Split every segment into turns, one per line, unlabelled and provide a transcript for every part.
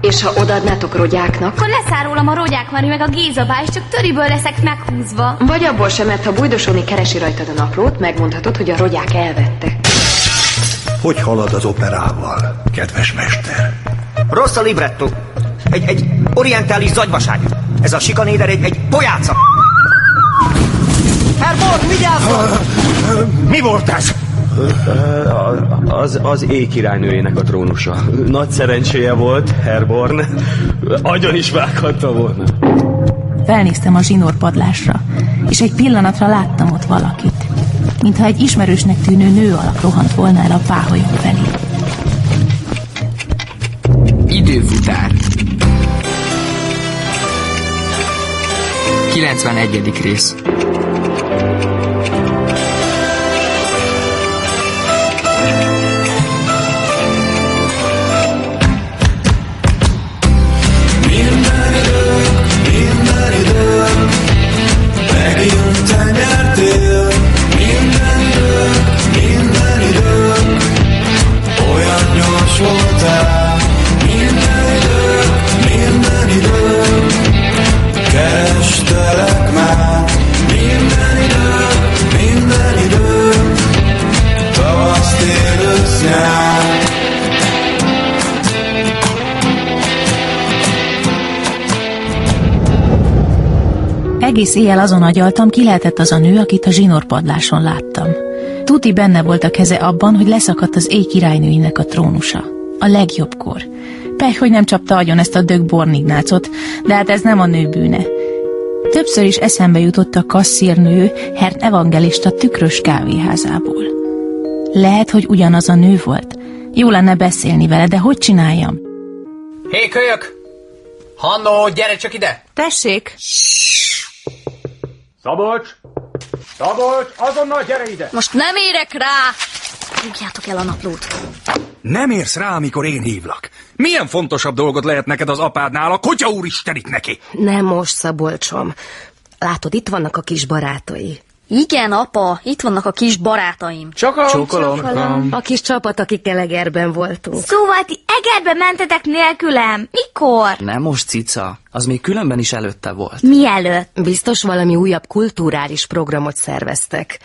És ha odaadnátok rogyáknak?
Akkor leszárulom a rogyák Mari meg a Géza bá, és csak töriből leszek meghúzva.
Vagy abból sem, mert ha bújdosóni keresi rajtad a naplót, megmondhatod, hogy a rogyák elvette.
Hogy halad az operával, kedves mester?
Rossz a libretto. Egy, egy orientális zagyvaság. Ez a sikanéder egy, egy pojáca. Herr Borg, vigyázzon!
Mi volt ez?
Az, az éj királynőjének a trónusa. Nagy szerencséje volt, Herborn. Agyon is vághatta volna.
Felnéztem a zsinór padlásra, és egy pillanatra láttam ott valakit. Mintha egy ismerősnek tűnő nő alak rohant volna el a páholyom felé.
Időfutár 91. rész
Egész éjjel azon agyaltam, ki lehetett az a nő, akit a zsinórpadláson láttam. Tuti benne volt a keze abban, hogy leszakadt az éj királynőinek a trónusa. A legjobbkor. Pech, hogy nem csapta agyon ezt a dög bornignácot, de hát ez nem a nő bűne. Többször is eszembe jutott a kasszírnő Hern Evangelista tükrös kávéházából. Lehet, hogy ugyanaz a nő volt. Jó lenne beszélni vele, de hogy csináljam?
Hé, hey, kölyök! Hannó, gyere csak ide!
Tessék!
Szabolcs! Szabolcs, azonnal gyere ide!
Most nem érek rá! Rúgjátok el a naplót.
Nem érsz rá, amikor én hívlak. Milyen fontosabb dolgot lehet neked az apádnál, a kutya úristen itt neki?
Nem most, Szabolcsom. Látod, itt vannak a kis barátai.
Igen, apa, itt vannak a kis barátaim.
Csokolom, csokolom.
Csakalom. A kis csapat, akikkel Egerben voltunk.
Szóval ti Egerbe mentetek nélkülem. Mikor?
Nem most, cica. Az még különben is előtte volt.
Mielőtt?
Biztos valami újabb kulturális programot szerveztek.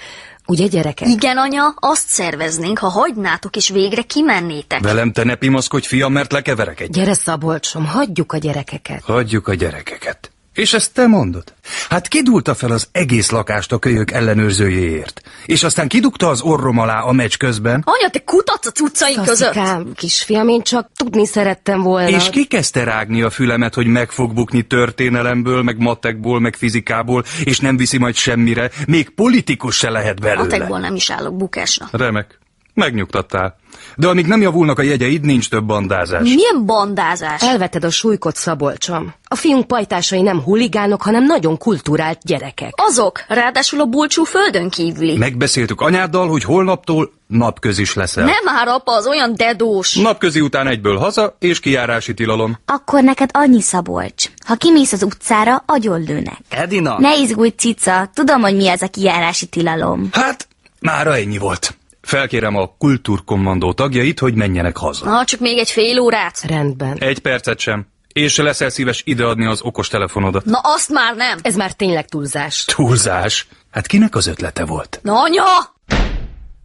Ugye, gyerekek?
Igen, anya, azt szerveznénk, ha hagynátok és végre kimennétek.
Velem te ne pimaszkodj, fiam, mert lekeverek egy.
Gyere, Szabolcsom, hagyjuk a gyerekeket.
Hagyjuk a gyerekeket. És ezt te mondod? Hát kidulta fel az egész lakást a kölyök ellenőrzőjéért. És aztán kidugta az orrom alá a meccs közben.
Anya, te kutatsz a cuccaink között!
Szaszikám, kisfiam, én csak tudni szerettem volna.
És ki kezdte rágni a fülemet, hogy meg fog bukni történelemből, meg matekból, meg fizikából, és nem viszi majd semmire, még politikus se lehet belőle.
Matekból nem is állok bukásra.
Remek. Megnyugtattál. De amíg nem javulnak a jegyeid, nincs több bandázás.
Milyen bandázás?
Elveted a súlykot, Szabolcsom. A fiunk pajtásai nem huligánok, hanem nagyon kulturált gyerekek.
Azok, ráadásul a bulcsú földön kívüli.
Megbeszéltük anyáddal, hogy holnaptól napköz is leszel.
Nem már, apa, az olyan dedós.
Napközi után egyből haza, és kijárási tilalom.
Akkor neked annyi Szabolcs. Ha kimész az utcára, agyonlőnek.
Edina!
Ne izgulj, cica, tudom, hogy mi ez a kijárási tilalom.
Hát, mára ennyi volt. Felkérem a kultúrkommandó tagjait, hogy menjenek haza.
Na, csak még egy fél órát.
Rendben.
Egy percet sem. És leszel szíves ideadni az okos telefonodat.
Na, azt már nem.
Ez már tényleg túlzás.
Túlzás? Hát kinek az ötlete volt?
Na, anya!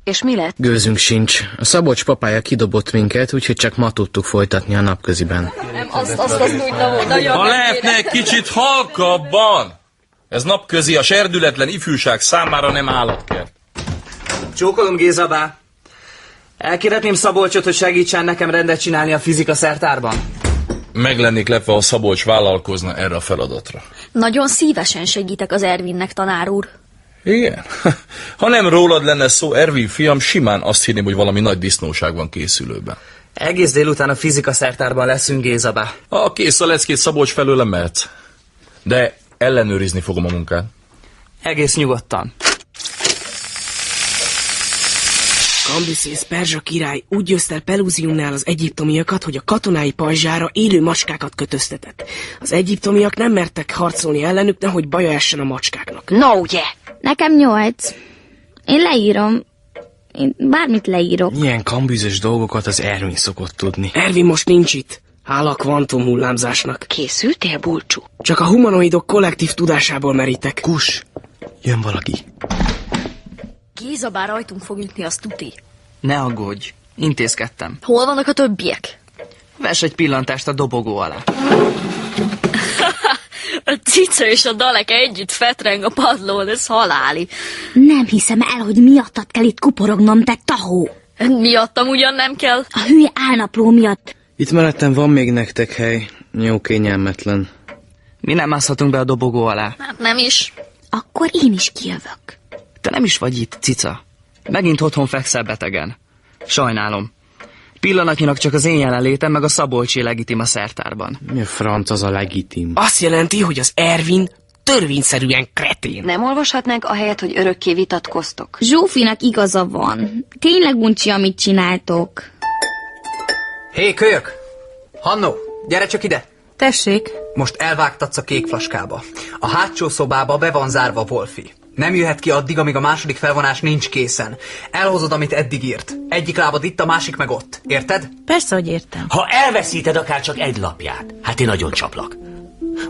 És mi lett?
Gőzünk sincs. A Szabolcs papája kidobott minket, úgyhogy csak ma tudtuk folytatni a napköziben.
Nem, azt, azt, azt úgy volna.
Ha lehetne egy kicsit halkabban! Ez napközi a serdületlen ifjúság számára nem állatkert.
Csókolom Gézabá. Elkérhetném Szabolcsot, hogy segítsen nekem rendet csinálni a fizika szertárban.
Meg lennék lepve, ha Szabolcs vállalkozna erre a feladatra.
Nagyon szívesen segítek az Ervinnek, tanár úr.
Igen? Ha nem rólad lenne szó, Ervin fiam, simán azt hinném, hogy valami nagy disznóság van készülőben.
Egész délután a fizika szertárban leszünk, Gézabá.
Ha kész a leckét Szabolcs felőle mehetsz. De ellenőrizni fogom a munkát.
Egész nyugodtan.
Kambiszész perzsa király úgy győzte Pelúziumnál az egyiptomiakat, hogy a katonái pajzsára élő macskákat kötöztetett. Az egyiptomiak nem mertek harcolni ellenük, nehogy baja essen a macskáknak.
Na no, ugye? Yeah.
Nekem nyolc. Én leírom. Én bármit leírok.
Milyen kambüzös dolgokat az Ervin szokott tudni.
Ervin most nincs itt. Hála a kvantum hullámzásnak.
Készültél, Bulcsú?
Csak a humanoidok kollektív tudásából merítek.
Kus! Jön valaki.
Géza bár rajtunk fog ütni, az tuti.
Ne aggódj, intézkedtem.
Hol vannak a többiek?
Vess egy pillantást a dobogó alá.
A cica és a dalek együtt fetreng a padlón, ez haláli.
Nem hiszem el, hogy miattad kell itt kuporognom, te tahó.
Miattam ugyan nem kell.
A hülye álnapló miatt.
Itt mellettem van még nektek hely. Jó kényelmetlen.
Mi nem mászhatunk be a dobogó alá.
Hát nem is.
Akkor én is kijövök.
Te nem is vagy itt, cica. Megint otthon fekszel betegen. Sajnálom. Pillanatnyilag csak az én jelenlétem, meg a Szabolcsi legitim a szertárban.
Mi a franc az a legitim?
Azt jelenti, hogy az Ervin törvényszerűen kretén.
Nem olvashatnánk ahelyett, hogy örökké vitatkoztok?
Zsófinak igaza van. Tényleg uncsi, amit csináltok.
Hé, kölyök! Hannó, gyere csak ide!
Tessék,
Most elvágtatsz a kék flaskába. A hátsó szobába be van zárva Wolfi. Nem jöhet ki addig, amíg a második felvonás nincs készen. Elhozod, amit eddig írt. Egyik lábad itt, a másik meg ott. Érted?
persze, hogy értem.
Ha elveszíted akár csak egy lapját, hát én nagyon csaplak.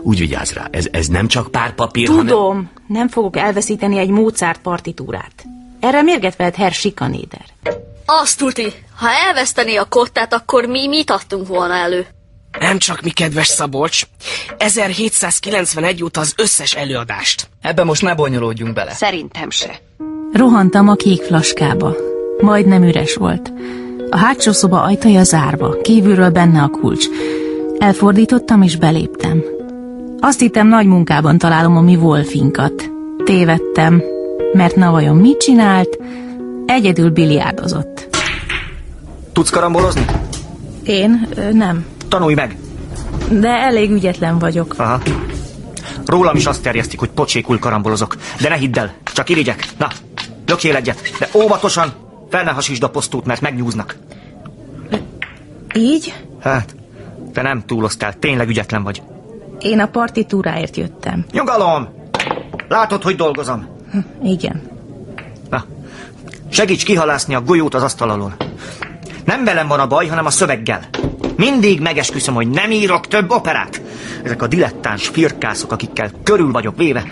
Úgy vigyázz rá, ez, ez nem csak pár papír, hanem...
Tudom, nem fogok elveszíteni egy Mozart partitúrát. Erre mérget vehet Herr Sikanéder.
Azt tuti, ha elvesztené a kottát, akkor mi mit adtunk volna elő?
Nem csak mi, kedves Szabolcs. 1791 óta az összes előadást.
Ebbe most ne bonyolódjunk bele.
Szerintem se.
Rohantam a kék flaskába. Majdnem üres volt. A hátsó szoba ajtaja zárva, kívülről benne a kulcs. Elfordítottam és beléptem. Azt hittem, nagy munkában találom a mi Wolfinkat. Tévedtem, mert na vajon mit csinált? Egyedül biliárdozott.
Tudsz karambolozni?
Én? Ö, nem.
Tanulj meg!
De elég ügyetlen vagyok.
Aha. Rólam is azt terjesztik, hogy pocsékul karambolozok. De ne hidd el, csak irigyek. Na, lökjél egyet, de óvatosan! Fel ne hasítsd a posztót, mert megnyúznak.
Így?
Hát, te nem túloztál, tényleg ügyetlen vagy.
Én a partitúráért jöttem.
Nyugalom! Látod, hogy dolgozom.
Igen.
Na, segíts kihalászni a golyót az asztal alól. Nem velem van a baj, hanem a szöveggel. Mindig megesküszöm, hogy nem írok több operát. Ezek a dilettáns firkászok, akikkel körül vagyok véve,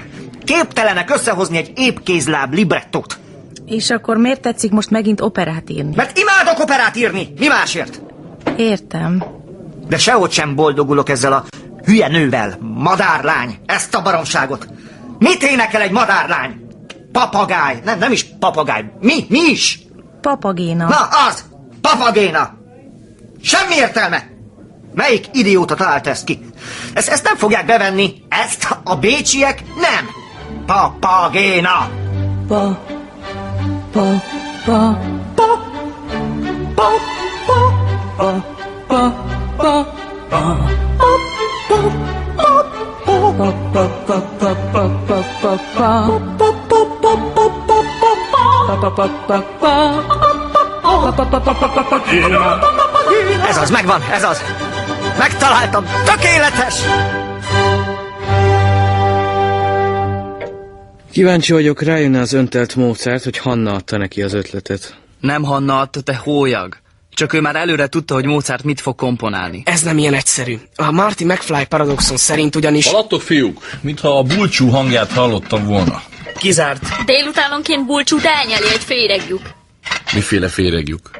képtelenek összehozni egy épkézláb librettót.
És akkor miért tetszik most megint operát írni?
Mert imádok operát írni! Mi másért?
Értem.
De sehogy sem boldogulok ezzel a hülye nővel. Madárlány, ezt a baromságot. Mit énekel egy madárlány? Papagáj, nem, nem is papagáj. Mi, mi is?
Papagéna.
Na az! Papagéna! Semmi értelme! Melyik idióta találta ezt ki? Ezt, ezt nem fogják bevenni. Ezt a bécsiek nem. Papagéna!
Pa, pa, pa,
pa, pa,
pa, pa, pa, pa,
Ez az, megvan, ez az. Megtaláltam, tökéletes!
Kíváncsi vagyok, rájönne az öntelt módszert, hogy Hanna adta neki az ötletet.
Nem Hanna adta, te hólyag. Csak ő már előre tudta, hogy Mozart mit fog komponálni.
Ez nem ilyen egyszerű. A Marty McFly paradoxon szerint ugyanis...
Haladtok, fiúk? Mintha a bulcsú hangját hallottam volna.
Kizárt.
Délutánonként bulcsút elnyeli egy féregjuk.
Miféle féregjuk?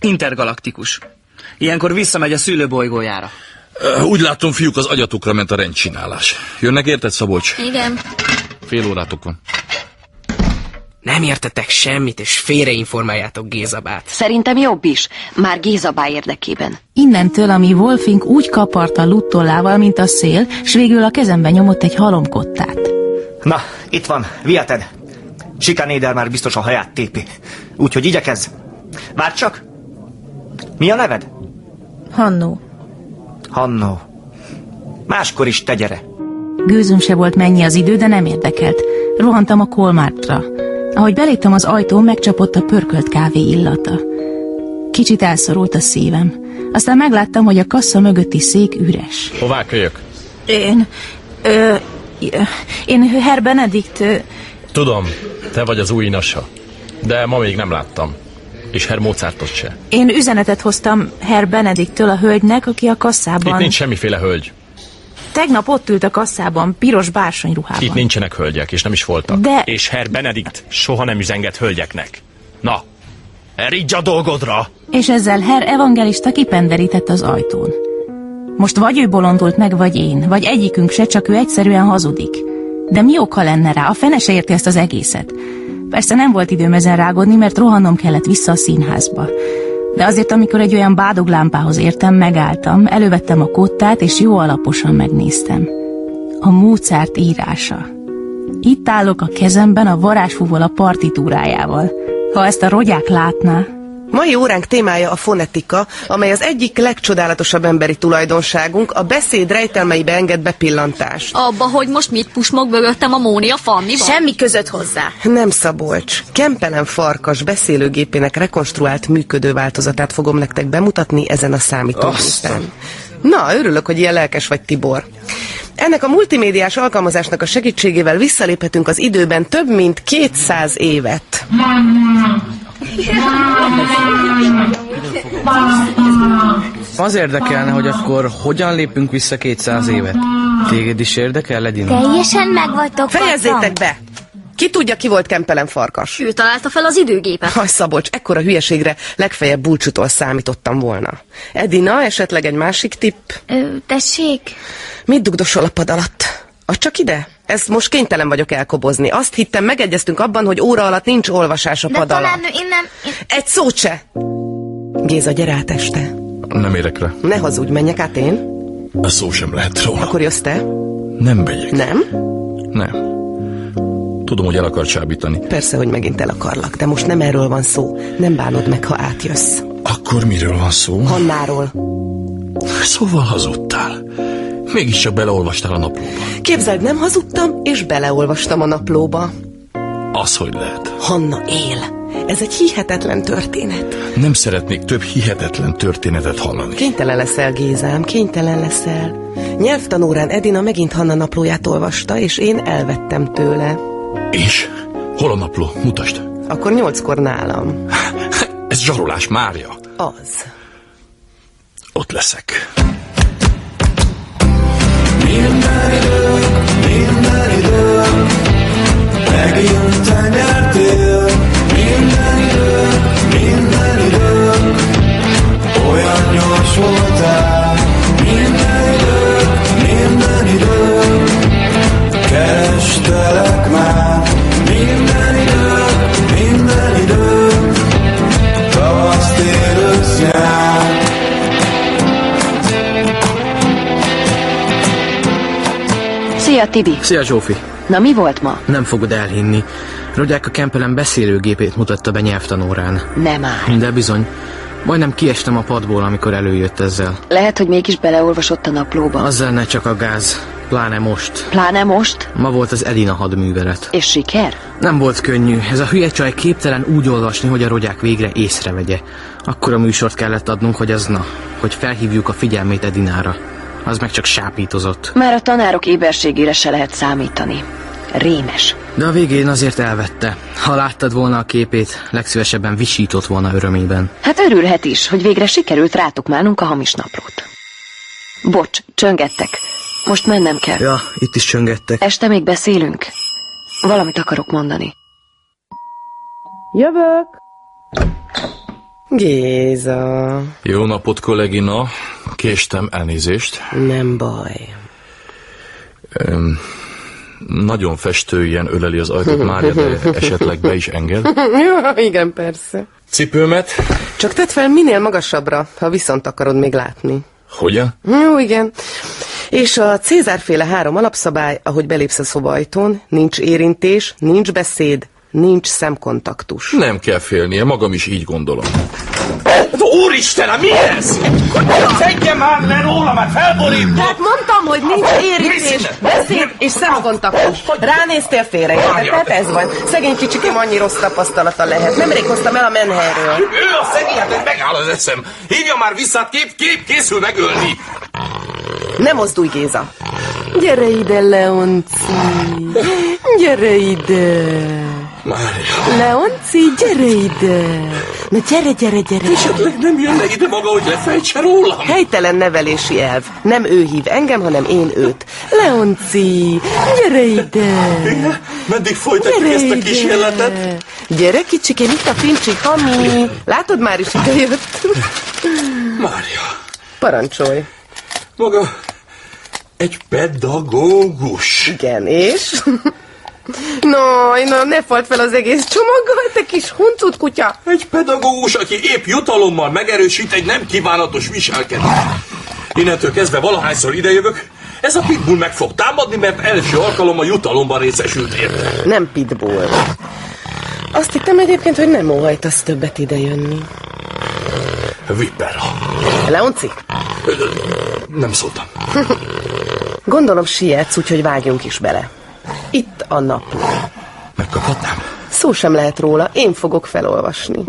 Intergalaktikus. Ilyenkor visszamegy a szülőbolygójára.
Ö, Úgy látom, fiúk, az agyatokra ment a rendcsinálás. Jönnek, érted, Szabolcs?
Igen.
Fél órátok van.
Nem értetek semmit, és félreinformáljátok Gézabát.
Szerintem jobb is. Már Gézabá érdekében.
Innentől, ami Wolfing úgy kaparta luttollával, mint a szél, s végül a kezembe nyomott egy halomkottát.
Na, itt van, viheted. Sikanéder már biztos a haját tépi. Úgyhogy igyekezz. Várj csak! Mi a neved?
Hannó.
Hannó. Máskor is te gyere.
Gőzöm se volt mennyi az idő, de nem érdekelt. Rohantam a kolmártra. Ahogy beléptem az ajtón, megcsapott a pörkölt kávé illata. Kicsit elszorult a szívem. Aztán megláttam, hogy a kassa mögötti szék üres.
Hová kölyök?
Én... Ö, én Herr Benedikt... Ö,
Tudom, te vagy az új inasa, de ma még nem láttam.
és Herr Mozartot se.
Én üzenetet hoztam Herr Benediktől a hölgynek, aki a kasszában...
Itt nincs semmiféle hölgy.
Tegnap ott ült a kasszában, piros bársonyruhában.
Itt nincsenek hölgyek, és nem is voltak.
De-
És Herr Benedikt soha nem üzenget hölgyeknek. Na, erígy a dolgodra!
És ezzel Herr evangelista kipenderített az ajtón. Most vagy ő bolondult meg, vagy én, vagy egyikünk se, csak ő egyszerűen hazudik. De mi oka lenne rá? A fene se érti ezt az egészet. Persze nem volt időm ezen rágódni, mert rohannom kellett vissza a színházba. De azért, amikor egy olyan bádoglámpához értem, megálltam, elővettem a kottát, és jó alaposan megnéztem. A Mozart írása. Itt állok a kezemben a varázsfúval a partitúrájával. Ha ezt a rogyák látná,
Mai óránk témája a fonetika, amely az egyik legcsodálatosabb emberi tulajdonságunk, a beszéd rejtelmeibe enged bepillantást.
Abba, hogy most mit pusmog mögöttem a Mónia Fanni van? Semmi között hozzá.
Nem Szabolcs. Kempelen Farkas beszélőgépének rekonstruált működő változatát fogom nektek bemutatni ezen a számítógépen. Na, örülök, hogy ilyen lelkes vagy, Tibor. Ennek a multimédiás alkalmazásnak a segítségével visszaléphetünk az időben több mint 200 évet.
Az érdekelne, hogy akkor hogyan lépünk vissza 200 évet. Téged is érdekel, Ledina?
Teljesen megvagytok.
Fejezzétek be! Ki tudja, ki volt Kempelen Farkas?
Ő találta fel az időgépet.
Haj, Szabolcs, ekkora hülyeségre legfeljebb búcsútól számítottam volna. Edina, esetleg egy másik tipp?
Ö, tessék?
Mit dugdosol a pad alatt? Az csak ide? Ezt most kénytelen vagyok elkobozni. Azt hittem, megegyeztünk abban, hogy óra alatt nincs olvasás a
De
pad
talán
alatt.
én nem... Én...
Egy szót se! Géza, gyere át este.
Nem érek rá.
Ne hazudj, menjek át én.
A szó sem lehet róla.
Akkor jössz te?
Nem megyek.
Nem?
Nem. Tudom, hogy el akar csábítani.
Persze, hogy megint el akarlak, de most nem erről van szó. Nem bánod meg, ha átjössz.
Akkor miről van szó?
Hannáról.
Szóval hazudtál. Mégiscsak beleolvastál a naplóba.
Képzeld, nem hazudtam, és beleolvastam a naplóba.
Az, hogy lehet.
Hanna él. Ez egy hihetetlen történet.
Nem szeretnék több hihetetlen történetet hallani.
Kénytelen leszel, Gézám, kénytelen leszel. Nyelvtanórán Edina megint Hanna naplóját olvasta, és én elvettem tőle.
És? Hol a napló? Mutasd.
Akkor nyolckor nálam.
Ez zsarolás, Mária.
Az.
Ott leszek.
Megjött a nyár tél, minden idő, minden idő, olyan gyors voltál. Minden idő, minden idő, kerestelek már. Minden idő, minden idő, tavasz, tél, ősz, nyár.
Szia, Tibi!
Szia, Zsófi!
Na, mi volt ma?
Nem fogod elhinni. Rogyák a Kempelen beszélőgépét mutatta be nyelvtanórán.
Nem már.
De bizony, majdnem kiestem a padból, amikor előjött ezzel.
Lehet, hogy mégis beleolvasott a naplóba.
Azzal ne csak a gáz, pláne most.
Pláne most?
Ma volt az Edina hadművelet.
És siker?
Nem volt könnyű, ez a hülye csaj képtelen úgy olvasni, hogy a rogyák végre észrevegye. Akkor a műsort kellett adnunk, hogy az na, hogy felhívjuk a figyelmét Edinára. Az meg csak sápítozott.
Már a tanárok éberségére se lehet számítani. Rémes.
De a végén azért elvette. Ha láttad volna a képét, legszívesebben visított volna örömében.
Hát örülhet is, hogy végre sikerült rátukmálnunk a hamis naplót. Bocs, csöngettek. Most mennem kell.
Ja, itt is csöngettek.
Este még beszélünk. Valamit akarok mondani.
Jövök! Géza.
Jó napot, kollégina. Késtem elnézést.
Nem baj.
Öm, nagyon festő ilyen öleli az ajtót Mária, de esetleg be is enged.
Ja, igen, persze.
Cipőmet?
Csak tedd fel minél magasabbra, ha viszont akarod még látni.
Hogyan?
Jó, igen. És a Cézárféle három alapszabály, ahogy belépsz a szobaajtón, nincs érintés, nincs beszéd, nincs szemkontaktus.
Nem kell félnie, magam is így gondolom.
Hát Úristen, mi ez? Szedje már le róla, már felborít!
Hát mondtam, hogy nincs érintés, beszéd és szemkontaktus. Ránéztél félre, tehát ez van. Szegény kicsikem annyi rossz tapasztalata lehet. Nemrég hoztam el a menhelyről.
Ő a szegény, hát megáll az eszem. Hívja már vissza, hát kép, kép, készül megölni.
Ne mozdulj, Géza! Gyere ide, Leonci! Gyere ide!
Leonci, gyere ide! Na gyere, gyere, gyere!
Esetleg
nem jönne ide maga, hogy lefejtse rólam?
Helytelen nevelési elv. Nem ő hív engem, hanem én őt.
Leonci, gyere ide!
Meddig folytatjuk
Gyere
ezt a
ide.
kísérletet?
Gyere kicsikem, itt a fincsi hami. Látod, már is ide jött.
Mária.
Parancsolj.
Maga egy pedagógus.
Igen, és? No, no, ne fald fel az egész csomaggal, te kis huncut kutya!
Egy pedagógus, aki épp jutalommal megerősít egy nem kívánatos viselkedést. Innentől kezdve valahányszor idejövök, ez a pitbull meg fog támadni, mert első alkalommal jutalomban részesült érte.
Nem pitbull. Azt hittem egyébként, hogy nem óhajtasz többet idejönni.
Vipera.
Leonci,
Ö, Nem szóltam.
gondolom sietsz, úgyhogy vágjunk is bele. Itt a napló.
Megkaphatnám?
Szó sem lehet róla, én fogok felolvasni.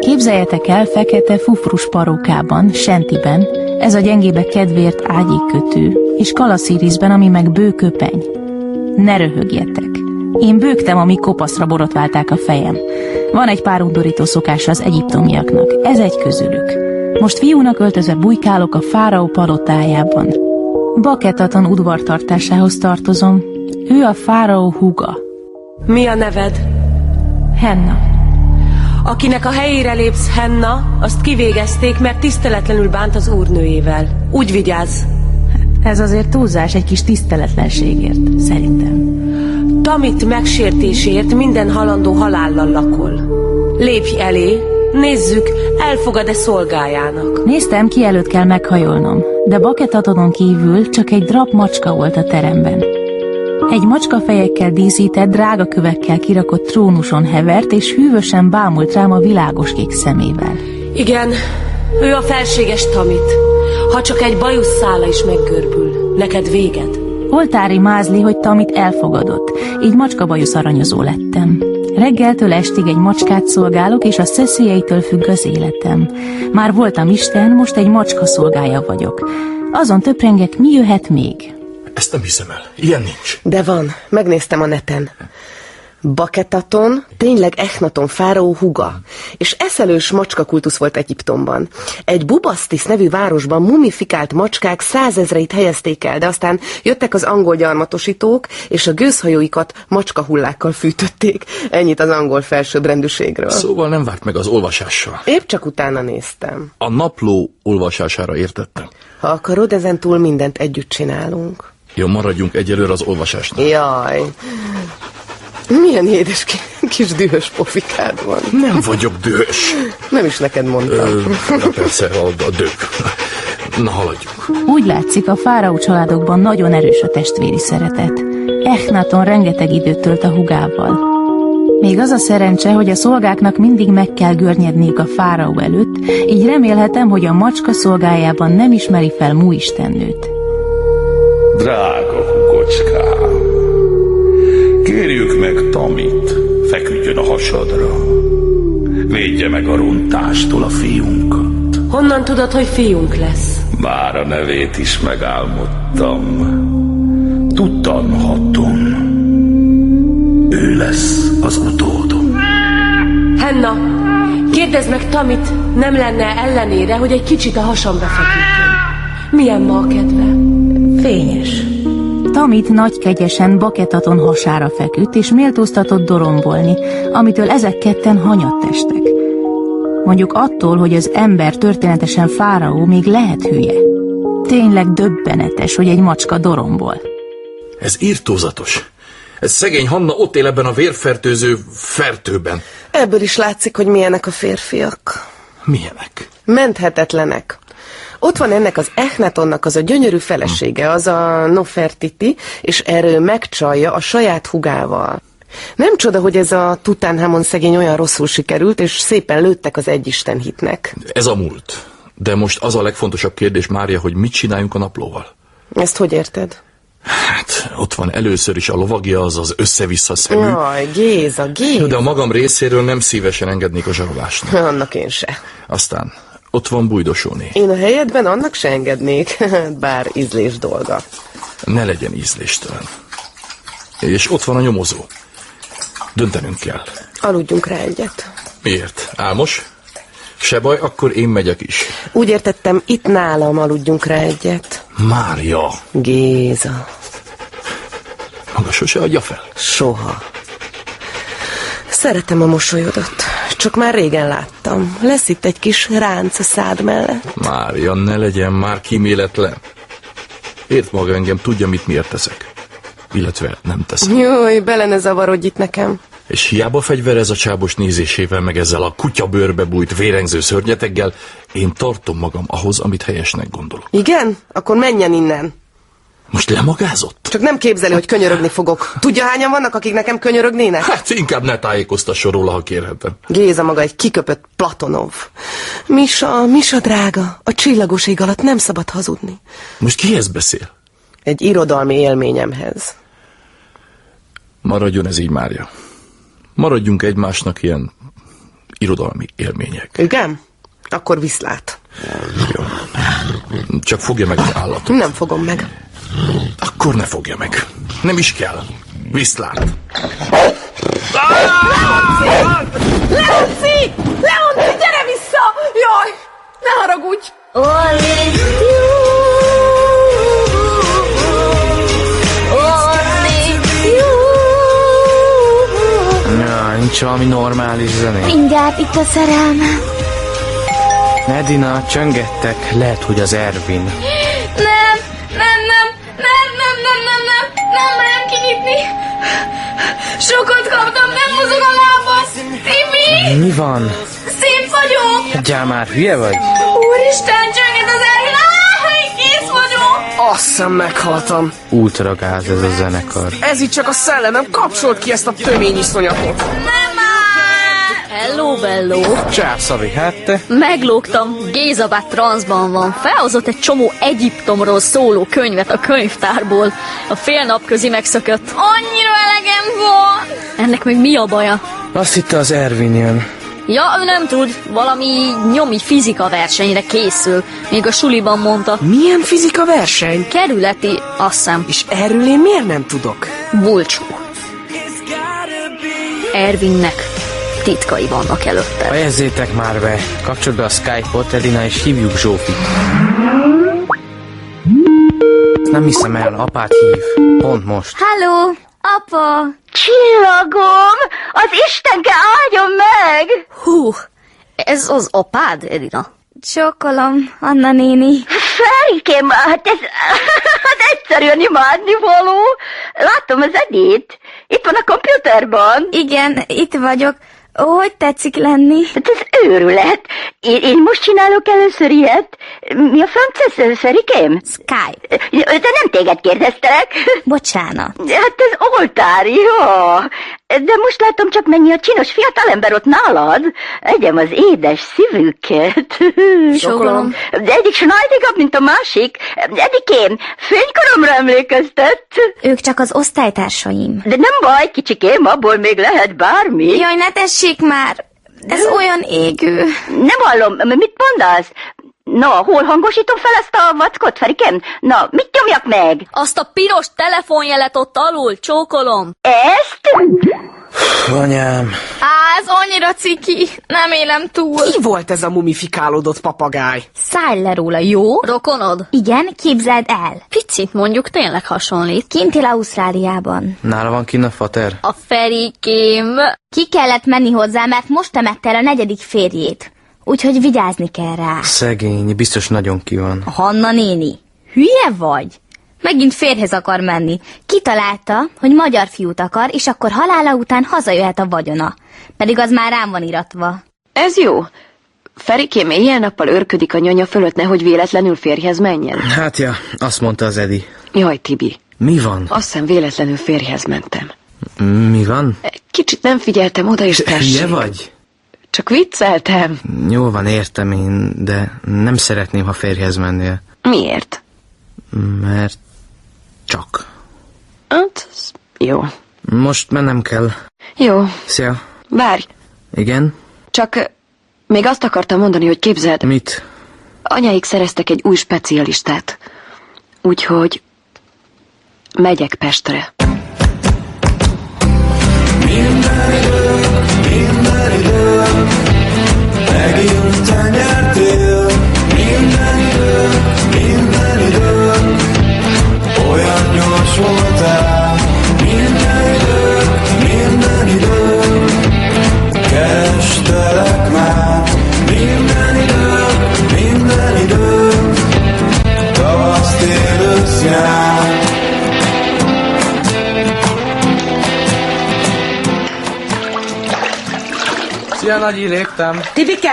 Képzeljetek el fekete fufrus parókában, sentiben, ez a gyengébe kedvéért ágyékötő, és kalaszírizben, ami meg bőköpeny. Ne röhögjetek. Én bőgtem, ami kopaszra borotválták a fejem. Van egy pár undorító szokása az egyiptomiaknak, ez egy közülük. Most fiúnak öltözve bujkálok a fáraó palotájában. Baketaton udvartartásához tartozom. Ő a fáraó húga.
Mi a neved?
Henna.
Akinek a helyére lépsz Henna, azt kivégezték, mert tiszteletlenül bánt az úrnőjével. Úgy vigyázz!
Ez azért túlzás egy kis tiszteletlenségért, szerintem.
Tamit megsértésért minden halandó halállal lakol. Lépj elé, nézzük, elfogad-e szolgájának.
Néztem, ki előtt kell meghajolnom, de baketatonon kívül csak egy drap macska volt a teremben. Egy macska fejekkel díszített, drága kövekkel kirakott trónuson hevert, és hűvösen bámult rám a világos kék szemével.
Igen, ő a felséges Tamit. Ha csak egy bajusz szála is meggörbül, neked véged.
Oltári mázli, hogy Tamit elfogadott, így macska bajusz aranyozó lettem. Reggeltől estig egy macskát szolgálok, és a szeszélyeitől függ az életem. Már voltam Isten, most egy macska szolgája vagyok. Azon töprengek, mi jöhet még?
Ezt nem hiszem el. Ilyen nincs.
De van, megnéztem a neten. Baketaton tényleg Echnaton fáraó huga, és eszelős macskakultusz volt Egyiptomban. Egy Bubasztis nevű városban mumifikált macskák százezreit helyezték el, de aztán jöttek az angol gyarmatosítók, és a gőzhajóikat macskahullákkal fűtötték. Ennyit az angol felsőbbrendűségről.
Szóval nem várt meg az olvasással.
Épp csak utána néztem.
A napló olvasására értettem.
Ha akarod, ezen túl mindent együtt csinálunk.
Jó, maradjunk egyelőre az olvasásnál.
Jaj, milyen édes ki- kis dühös pofikád van.
Nem vagyok dühös.
Nem is neked
Ö,
mondtam.
na persze, a, a dög. Na, haladjunk.
Úgy látszik, a fáraó családokban nagyon erős a testvéri szeretet. Echnaton rengeteg időt tölt a hugával. Még az a szerencse, hogy a szolgáknak mindig meg kell görnyedniük a fáraó előtt, így remélhetem, hogy a macska szolgájában nem ismeri fel múistennőt.
Drága kocskám, kérjük meg Tamit, feküdjön a hasadra. Védje meg a runtástól a fiunk.
Honnan tudod, hogy fiunk lesz?
Már a nevét is megálmodtam. Tutanhaton. Ő lesz az utódom.
Henna, kérdezd meg Tamit, nem lenne ellenére, hogy egy kicsit a hasamba feküdjön. Milyen ma a kedve?
Fényes. Tamit nagy kegyesen baketaton hasára feküdt, és méltóztatott dorombolni, amitől ezek ketten hanyattestek. Mondjuk attól, hogy az ember történetesen fáraó még lehet hülye. Tényleg döbbenetes, hogy egy macska dorombol.
Ez írtózatos. Ez szegény Hanna ott él ebben a vérfertőző fertőben.
Ebből is látszik, hogy milyenek a férfiak.
Milyenek?
Menthetetlenek. Ott van ennek az Echnatonnak az a gyönyörű felesége, az a Nofertiti, és erről megcsalja a saját hugával. Nem csoda, hogy ez a Tutanhamon szegény olyan rosszul sikerült, és szépen lőttek az egyisten hitnek.
Ez a múlt. De most az a legfontosabb kérdés, Mária, hogy mit csináljunk a naplóval?
Ezt hogy érted?
Hát, ott van először is a lovagja, az az össze-vissza szemű.
Jaj, Géza,
Jó, de
Géza.
a magam részéről nem szívesen engednék a zsarolásnak.
Annak én se.
Aztán ott van bújdosóné.
Én a helyedben annak se engednék, bár ízlés dolga.
Ne legyen ízléstelen. És ott van a nyomozó. Döntenünk kell.
Aludjunk rá egyet.
Miért? Álmos? Se baj, akkor én megyek is.
Úgy értettem, itt nálam aludjunk rá egyet.
Mária!
Géza.
Maga sose adja fel?
Soha. Szeretem a mosolyodat. Csak már régen láttam. Lesz itt egy kis ránc a szád mellett.
Mária, ne legyen már kíméletlen. Ért maga engem, tudja, mit miért teszek. Illetve nem teszek.
Jaj, bele ne zavarodj itt nekem.
És hiába fegyverez a csábos nézésével, meg ezzel a kutyabőrbe bújt vérengző szörnyeteggel, én tartom magam ahhoz, amit helyesnek gondolok.
Igen? Akkor menjen innen.
Most lemagázott?
Csak nem képzeli, hogy könyörögni fogok. Tudja, hányan vannak, akik nekem könyörögnének?
Hát inkább ne tájékoztasson róla, ha kérhetem.
Géza maga egy kiköpött Platonov. Misa, Misa drága, a csillagos ég alatt nem szabad hazudni.
Most kihez beszél?
Egy irodalmi élményemhez.
Maradjon ez így, Mária. Maradjunk egymásnak ilyen irodalmi élmények.
Igen? Akkor viszlát.
Csak fogja meg az állat.
Nem fogom meg.
Akkor ne fogja meg. Nem is kell. Viszlát.
Leonci! Leonci, gyere vissza! Jaj, ne haragudj!
Ja, nincs valami normális zené.
Mindjárt itt a szerelmem.
Edina, csöngettek, lehet, hogy az Ervin.
Nem, nem, nem, nem, nem, nem, nem, nem, nem merem kinyitni. Sokat kaptam, nem mozog a lábam. Timi,
Mi van?
szép vagyok.
Egyáltalán már hülye vagy?
Úristen, csönget az erőn. Áj, kész vagyok.
Azt hiszem meghaltam.
Ultra gáz ez a zenekar.
Ez itt csak a szellemem, kapcsolt ki ezt a tömény iszonyatot.
Hello, bello.
Csá, Szavi, hát te?
Meglógtam, Géza bár transzban van. Felhozott egy csomó Egyiptomról szóló könyvet a könyvtárból. A fél nap közi megszökött. Annyira elegem van! Ennek még mi a baja?
Azt hitte az Ervin jön.
Ja, ő nem tud. Valami nyomi fizika versenyre készül. Még a suliban mondta.
Milyen fizika verseny?
Kerületi, azt hiszem.
És erről én miért nem tudok?
Bulcsú. Ervinnek titkai vannak előtte.
Fejezzétek már be. Kapcsold be a Skype-ot, Edina, és hívjuk Zsófit. Nem hiszem el, apát hív. Pont most.
Halló, apa! Csillagom! Az Istenke áldjon meg!
Hú, ez az apád, Edina?
Csókolom, Anna néni. Ferikém, hát ez hát egyszerűen imádni való. Látom az edét. Itt van a kompjúterban. Igen, itt vagyok. Hogy tetszik lenni? Hát ez őrület. Én, én most csinálok először ilyet. Mi a franc ez, Ferikém? Skype. De nem téged kérdeztelek. Bocsánat. Hát ez oltár, jó. De most látom csak mennyi a csinos fiatalember ott nálad. Egyem az édes szívüket.
Csókolom.
De egyik snajdigabb, mint a másik. Edikém, fénykoromra emlékeztet. Ők csak az osztálytársaim. De nem baj, kicsikém, abból még lehet bármi. Hm?
Jaj, ne tessék már! Ez olyan égő.
Nem hallom, m- mit mondasz? Na, hol hangosítom fel ezt a vackot, Ferikem? Na, mit nyomjak meg?
Azt a piros telefonjelet ott alul, csókolom.
Ezt?
Anyám.
Á, ez annyira ciki. Nem élem túl.
Ki volt ez a mumifikálódott papagáj?
Szállj le róla, jó?
Rokonod?
Igen, képzeld el.
Picit mondjuk tényleg hasonlít.
Kint él Ausztráliában.
Nála van kinn a fater?
A Ferikém.
Ki kellett menni hozzá, mert most temette el a negyedik férjét. Úgyhogy vigyázni kell rá.
Szegény, biztos nagyon ki van.
Hanna néni, hülye vagy? Megint férhez akar menni. Kitalálta, hogy magyar fiút akar, és akkor halála után hazajöhet a vagyona. Pedig az már rám van iratva.
Ez jó. Ferikém éjjel-nappal őrködik a nyanya fölött, nehogy véletlenül férjhez menjen.
Hát ja, azt mondta az Edi.
Jaj, Tibi,
Mi van?
azt hiszem véletlenül férjhez mentem.
Mi van?
Kicsit nem figyeltem oda, és
Hülye
tessék.
vagy?
Csak vicceltem.
Jó van, értem én, de nem szeretném, ha férjhez mennél.
Miért?
Mert csak.
Hát, jó.
Most mennem kell.
Jó,
Szia.
várj.
Igen?
Csak ö, még azt akartam mondani, hogy képzeld,
Mit?
anyáik szereztek egy új specialistát. Úgyhogy megyek Pestre.
Minden
Szia, nagyi, léptem.
Tibike,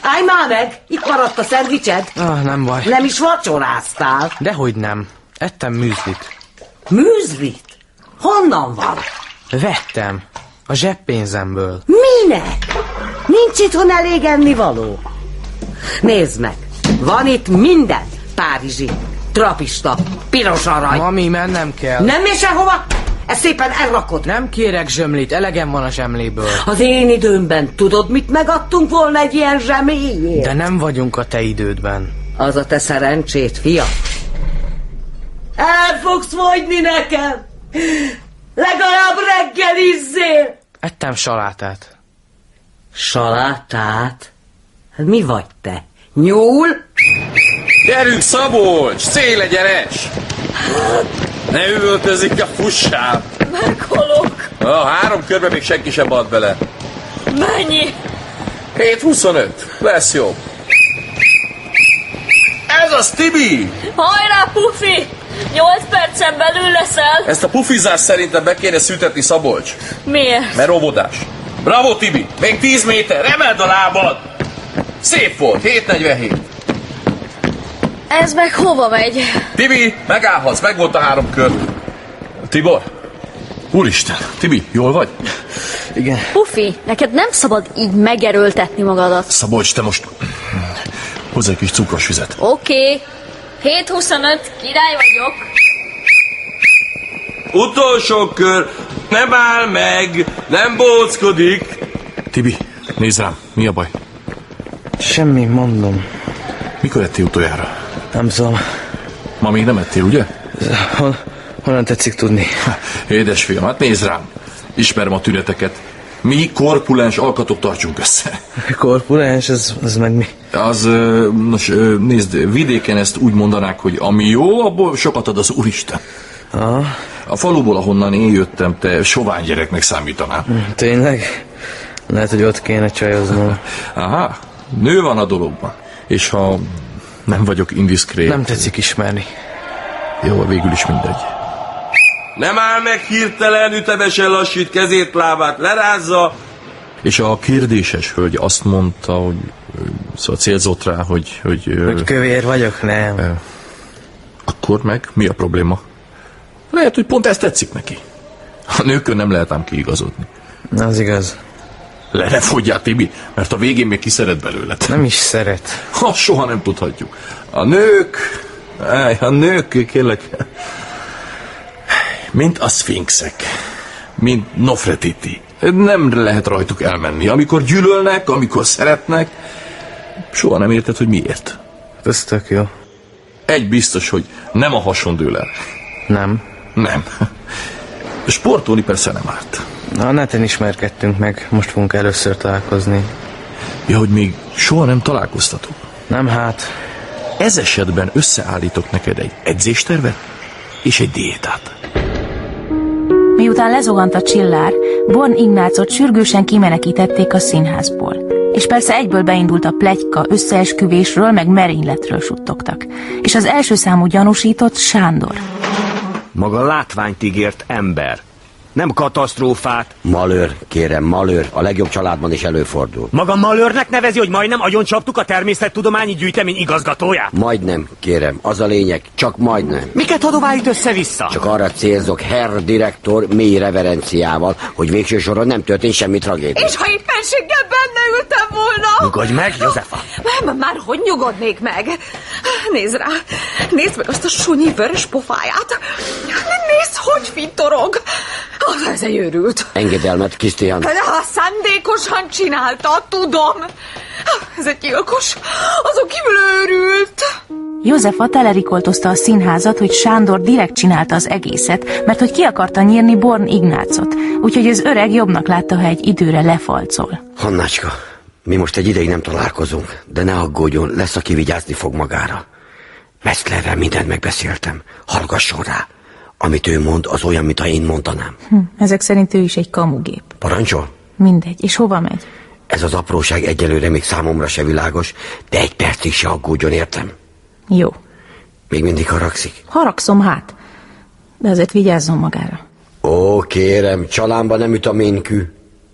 állj már meg! Itt maradt a szendvicsed.
Ah, nem baj.
Nem is vacsoráztál.
Dehogy nem. Ettem műzlit.
Műzlit? Honnan van?
Vettem. A zseppénzemből.
Minek? Nincs itthon elég ennivaló. Nézd meg, van itt minden. Párizsi, trapista, piros arany.
Mami, mennem kell.
Nem mész sehova? Ezt szépen elrakod.
Nem kérek zsömlét, elegem van a zsemléből.
Az én időmben tudod, mit megadtunk volna egy ilyen zseméjét?
De nem vagyunk a te idődben.
Az a te szerencsét, fia. El fogsz fogyni nekem! Legalább reggelizzél!
Ettem salátát.
Salátát? Hát Mi vagy te? Nyúl?
Gyerünk, Szabolcs! Széle, gyeres! Ne üvöltözik a fussám!
Meghalok!
A három körbe még senki sem ad bele.
Mennyi?
7-25. Lesz jó. Ez az Tibi!
Hajrá, Pufi! Nyolc percen belül leszel!
Ezt a pufizást szerintem be kéne szüntetni, Szabolcs.
Miért?
Mert óvodás. Bravo, Tibi! Még 10 méter! Emeld a lábad! Szép volt, 7.47.
Ez meg hova megy?
Tibi, megállhatsz, meg volt a három kör. Tibor? Úristen, Tibi, jól vagy?
Igen.
Pufi, neked nem szabad így megerőltetni magadat.
Szabolcs, te most hozzá egy kis cukros vizet.
Oké. 7.25, király vagyok.
Utolsó kör, nem áll meg, nem bóckodik.
Tibi, nézz rám, mi a baj?
Semmi, mondom.
Mikor ettél utoljára?
Nem tudom.
Ma még nem ettél, ugye?
Hon, honnan tetszik tudni?
Édes fiam, hát nézz rám. Ismerem a tüneteket. Mi korpulens alkatok tartsunk össze.
Korpulens, ez, ez meg mi?
Az, ö, nos, ö, nézd, vidéken ezt úgy mondanák, hogy ami jó, abból sokat ad az Úristen.
Aha.
A faluból, ahonnan én jöttem, te sovány gyereknek számítanál.
Hm, Tényleg? Lehet, hogy ott kéne csajoznom.
Aha, nő van a dologban. És ha nem vagyok indiszkrét...
Nem tetszik ismerni.
Jó, végül is mindegy.
Nem áll meg hirtelen, ütemesen lassít, kezét, lábát lerázza.
És a kérdéses hölgy azt mondta, hogy... ö, Szóval célzott rá, hogy... Hogy, ö,
Hogy kövér vagyok, nem.
Akkor meg mi a probléma? Lehet, hogy pont ez tetszik neki. A nőkön nem lehet ám kiigazodni.
Az igaz.
Le ne fogyjál, Tibi, mert a végén még kiszeret belőled.
Nem is szeret.
Ha, soha nem tudhatjuk. A nők... áj, A nők, kérlek... Mint a szfinxek. Mint Nofretiti. Nem lehet rajtuk elmenni. Amikor gyűlölnek, amikor szeretnek... Soha nem érted, hogy miért.
Ez tök jó.
Egy biztos, hogy nem a hason dől el.
Nem.
Nem. Sportolni persze Szóval nem árt.
Na, A neten ismerkedtünk meg, most fogunk először találkozni.
Ja, hogy még soha nem találkoztatok.
Nem hát.
Ez esetben összeállítok neked egy edzéstervet és egy diétát.
Miután lezogant a csillár, Born Ignácot sürgősen kimenekítették a színházból. És persze egyből beindult a plegyka, összeesküvésről, meg merényletről suttogtak. És az első számú gyanúsított Sándor.
Maga látványt ígért ember. Nem katasztrófát. Malőr, kérem, malőr. A legjobb családban is előfordul.
Maga malőrnek nevezi, hogy majdnem agyoncsaptuk a természettudományi gyűjtemény igazgatóját?
Majdnem, kérem. Az a lényeg, csak majdnem.
Miket hadovált össze-vissza?
Csak arra célzok, herr direktor mély reverenciával, hogy végső soron nem történt semmi tragédia.
És ha éppenséggel benne ültem volna!
Nyugodj meg, Józefa!
Már, már hogy nyugodnék meg? Nézd rá! Nézd meg azt a sunyi vörös pofáját! Nézd, hogy fintorog! Az ez egy őrült!
Engedelmet, Krisztián.
De ha szándékosan csinálta, tudom! Ez egy gyilkos! Azon kívül őrült!
Józefa telerikoltozta a színházat, hogy Sándor direkt csinálta az egészet, mert hogy ki akarta nyírni Born Ignácot, úgyhogy az öreg jobbnak látta, ha egy időre lefalcol.
Hannácska, mi most egy ideig nem találkozunk, de ne aggódjon, lesz, aki vigyázni fog magára. Metzlerrel mindent megbeszéltem. Hallgasson rá. Amit ő mond, az olyan, mintha én mondanám.
Hm, ezek szerint ő is egy kamugép.
Parancsol?
Mindegy, és hova megy?
Ez az apróság egyelőre még számomra se világos, de egy percig se aggódjon, értem?
Jó.
Még mindig haragszik.
Haragszom hát, de azért vigyázzon magára.
Ó, kérem, csalámba nem üt a ménkű.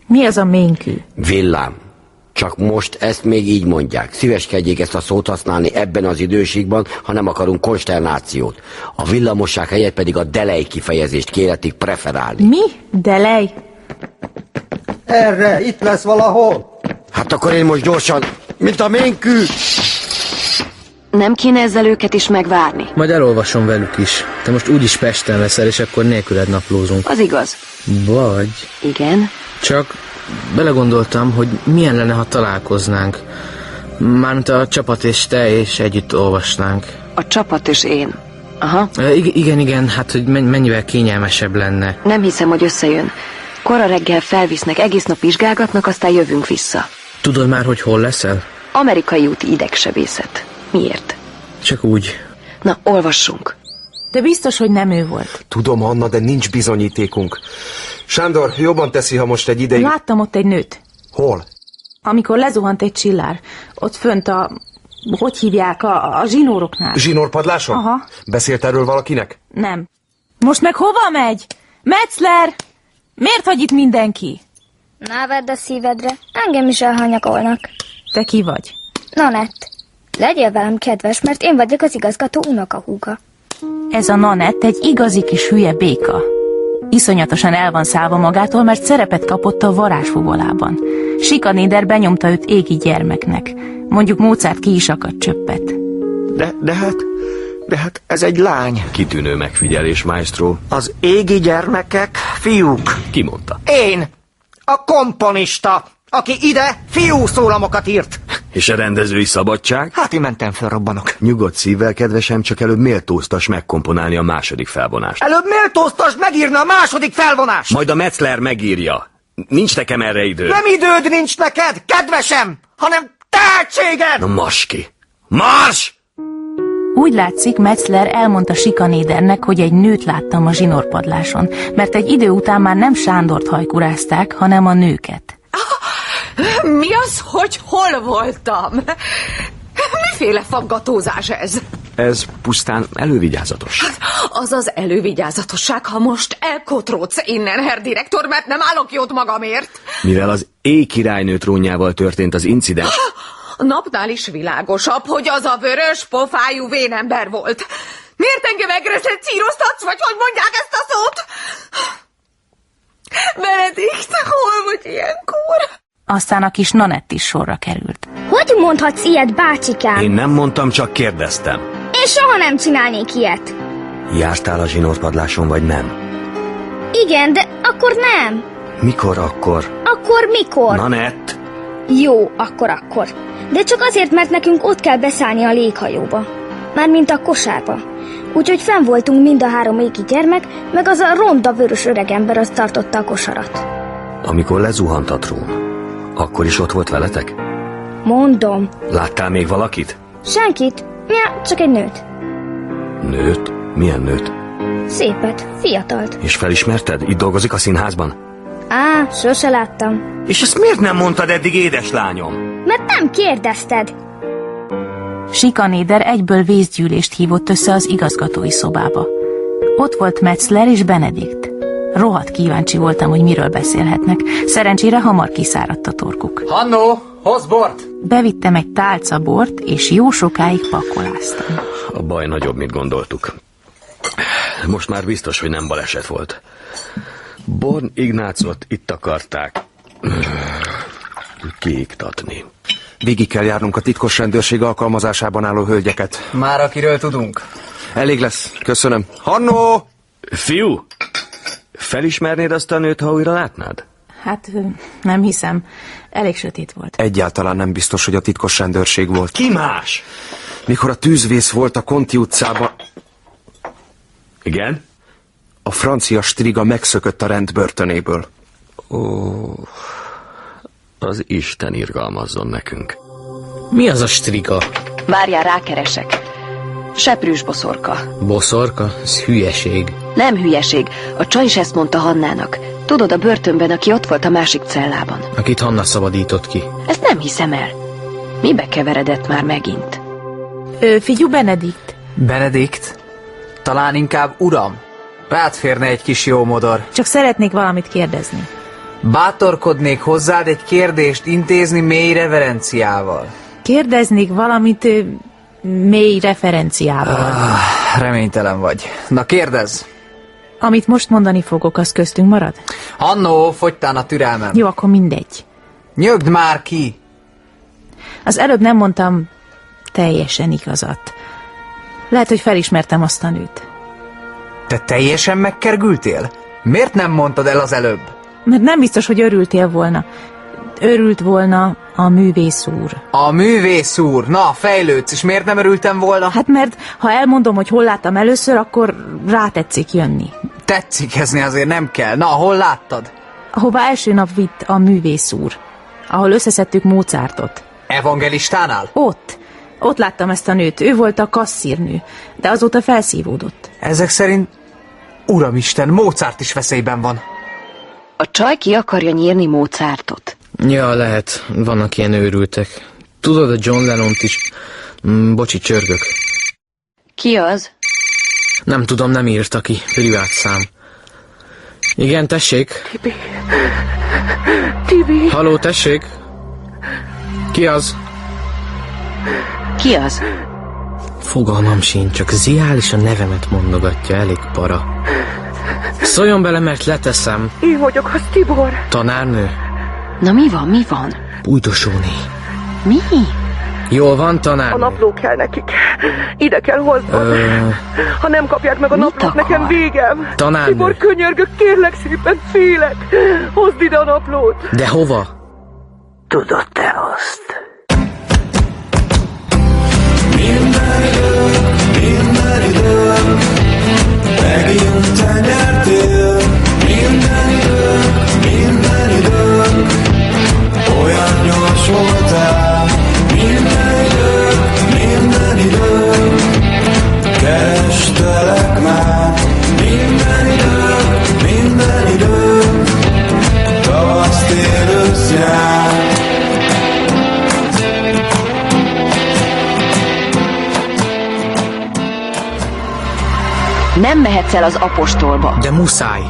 Mi az a ménkű?
Villám. Csak most ezt még így mondják. Szíveskedjék ezt a szót használni ebben az időségben, ha nem akarunk konsternációt. A villamosság helyett pedig a delej kifejezést kéretik preferálni.
Mi? De lej!
Erre, itt lesz valahol.
Hát akkor én most gyorsan, mint a ménkű!
Nem kéne ezzel őket is megvárni?
Majd elolvasom velük is. Te most úgyis Pesten leszel, és akkor nélküled naplózunk.
Az igaz.
Vagy...
Igen.
Csak belegondoltam, hogy milyen lenne, ha találkoznánk. Mármint a csapat és te, és együtt olvasnánk.
A csapat és én. Aha.
E, ig- Igen, igen, hát hogy men- mennyivel kényelmesebb lenne.
Nem hiszem, hogy összejön. Kora reggel felvisznek, egész nap vizsgálgatnak, aztán jövünk vissza.
Tudod már, hogy hol leszel?
Amerikai úti idegsebészet. Miért?
Csak úgy.
Na, olvassunk.
De biztos, hogy nem ő volt.
Tudom, Anna, de nincs bizonyítékunk. Sándor, jobban teszi, ha most egy ideig...
Láttam ott egy nőt,
Hol?
amikor lezuhant egy csillár. Ott fönt a... Hogy hívják? A, a zsinóroknál.
Zsinórpadláson?
Aha.
Beszélt erről valakinek?
Nem. Most meg hova megy? Metzler! Miért vagy itt mindenki?
Na, vedd a szívedre, engem is elhanyagolnak.
Te ki vagy?
Nanett, legyél velem kedves, mert én vagyok az igazgató unokahúga.
Ez a Nanett egy igazi kis hülye béka. Iszonyatosan el van szállva magától, mert szerepet kapott a varázsfogolában. Sikanéder benyomta őt égi gyermeknek. Mondjuk Mozart ki is akadt csöppet.
De, de hát, de hát ez egy lány.
Kitűnő megfigyelés, maestro.
Az égi gyermekek fiúk.
Ki mondta?
Én, a komponista, aki ide fiú szólamokat írt.
És a rendezői szabadság?
Hát én mentem felrobbanok.
Nyugodt szívvel, kedvesem, csak előbb méltóztas megkomponálni a második felvonást.
Előbb méltóztas megírna a második felvonást.
Majd a Metzler megírja. Nincs nekem erre idő.
Nem időd nincs neked, kedvesem, hanem tehetséged!
Na maski! Mars!
Úgy látszik, Metzler elmondta Sikanédernek, hogy egy nőt láttam a zsinórpadláson, mert egy idő után már nem Sándort hajkurázták, hanem a nőket.
Mi az, hogy hol voltam? Miféle faggatózás ez?
Ez pusztán elővigyázatos.
Az az elővigyázatosság, ha most elkotródsz innen, herr direktor, mert nem állok jót magamért.
Mivel az éj királynő trónjával történt az incidens,
A napnál is világosabb, hogy az a vörös pofájú vénember volt. Miért engem egresre círoztatsz, vagy hogy mondják ezt a szót? Benedikt, hol vagy ilyenkor?
Aztán a kis Nanett is sorra került.
Hogy mondhatsz ilyet, bácsikám?
én nem mondtam, csak kérdeztem.
Én soha nem csinálnék ilyet.
Jártál a zsinórpadláson, vagy nem?
Igen, de akkor nem.
Mikor akkor?
Akkor mikor?
Nanett!
Jó, akkor akkor. De csak azért, mert nekünk ott kell beszállni a léghajóba. Mármint a kosárba. Úgyhogy fenn voltunk mind a három éki gyermek, meg az a ronda vörös öregember az tartotta a kosarat.
Amikor lezuhant a trón, akkor is ott volt veletek?
Mondom,
Láttál még valakit?
senkit, ja, csak egy nőt.
Nőt? Milyen nőt?
Szépet, fiatalt.
És felismerted? Itt dolgozik a színházban?
Á, sose láttam.
És ezt miért nem mondtad eddig, édeslányom?
Mert nem kérdezted.
Sikanéder egyből vészgyűlést hívott össze az igazgatói szobába. Ott volt Metzler és Benedikt. Rohadt kíváncsi voltam, hogy miről beszélhetnek. Szerencsére hamar kiszáradt a torkuk.
Hannó, hozz bort!
Bevittem egy tálca bort, és jó sokáig pakoláztam.
A baj nagyobb, mint gondoltuk. Most már biztos, hogy nem baleset volt. Born Ignácot itt akarták kiiktatni.
Végig kell járnunk a titkos rendőrség alkalmazásában álló hölgyeket.
Már akiről tudunk.
Elég lesz, köszönöm. Hannó!
Fiú! Felismernéd azt a nőt, ha újra látnád?
Hát ö, nem hiszem, elég sötét volt.
Egyáltalán nem biztos, hogy a titkos rendőrség volt.
Ki más?
Mikor a tűzvész volt a Konti utcában... Igen? A francia striga megszökött a rendbörtönéből.
Ó, az Isten irgalmazzon nekünk.
Mi az a striga?
Várjál, rákeresek. Seprűs boszorka.
Boszorka? Ez hülyeség.
Nem hülyeség. A csaj is ezt mondta Hannának. Tudod, a börtönben, aki ott volt a másik cellában.
Akit Hanna szabadított ki.
Ezt nem hiszem el. Mibe keveredett már megint?
Ö, figyú Benedikt.
Benedikt? Talán inkább uram? Rád férne egy kis jómodor.
Csak szeretnék valamit kérdezni.
Bátorkodnék hozzád egy kérdést intézni mély reverenciával.
Kérdeznék valamit ö, mély referenciával.
Ah, reménytelen vagy. Na kérdezz!
Amit most mondani fogok, az köztünk marad?
Annó, fogytán a türelmem.
Jó, akkor mindegy.
Nyögd már ki!
Az előbb nem mondtam teljesen igazat. Lehet, hogy felismertem azt a nőt.
Te teljesen megkergültél? Miért nem mondtad el az előbb?
Mert nem biztos, hogy örültél volna. Örült volna a művész úr.
A művész úr, na, fejlődsz, és miért nem örültem volna?
Hát mert ha elmondom, hogy hol láttam először, akkor rátetszik jönni.
Tetszik azért nem kell. Na, hol láttad?
Ahová első nap vitt a művész úr, ahol összeszedtük Mozartot.
Evangelistánál?
Ott. Ott láttam ezt a nőt. Ő volt a kasszírnő, de azóta felszívódott.
Ezek szerint, uramisten, Mozart is veszélyben van.
A csaj ki akarja nyírni Mozartot.
Ja, lehet. Vannak ilyen őrültek. Tudod, a John lennon is... Mm, bocsi, csörgök.
Ki az?
Nem tudom, nem írta ki. Privát szám. Igen, tessék?
Tibi.
Tibi. Haló, tessék? Ki az?
Ki az?
Fogalmam sincs, csak ziális a nevemet mondogatja, elég para. Szóljon bele, mert leteszem.
Én vagyok, az Tibor.
Tanárnő?
Na mi van, mi van?
Bújdosóni.
Mi?
Jól van,
A
tanárnő?
napló kell nekik. Ide kell hoznod.
Ö,
Ha nem kapják meg a naplót, nekem végem.
Tanárnő.
Tibor, könyörgök, kérlek szépen, félek. Hozd ide a naplót.
de hova?
Tudod te azt.
Megint te nyertél Minden idők, minden idők Olyan gyors voltál Minden idők, minden idők Kerestelek már Minden idők, minden idők Tavasz, tél, ősz, nyár
Nem mehetsz el az apostolba.
De muszáj.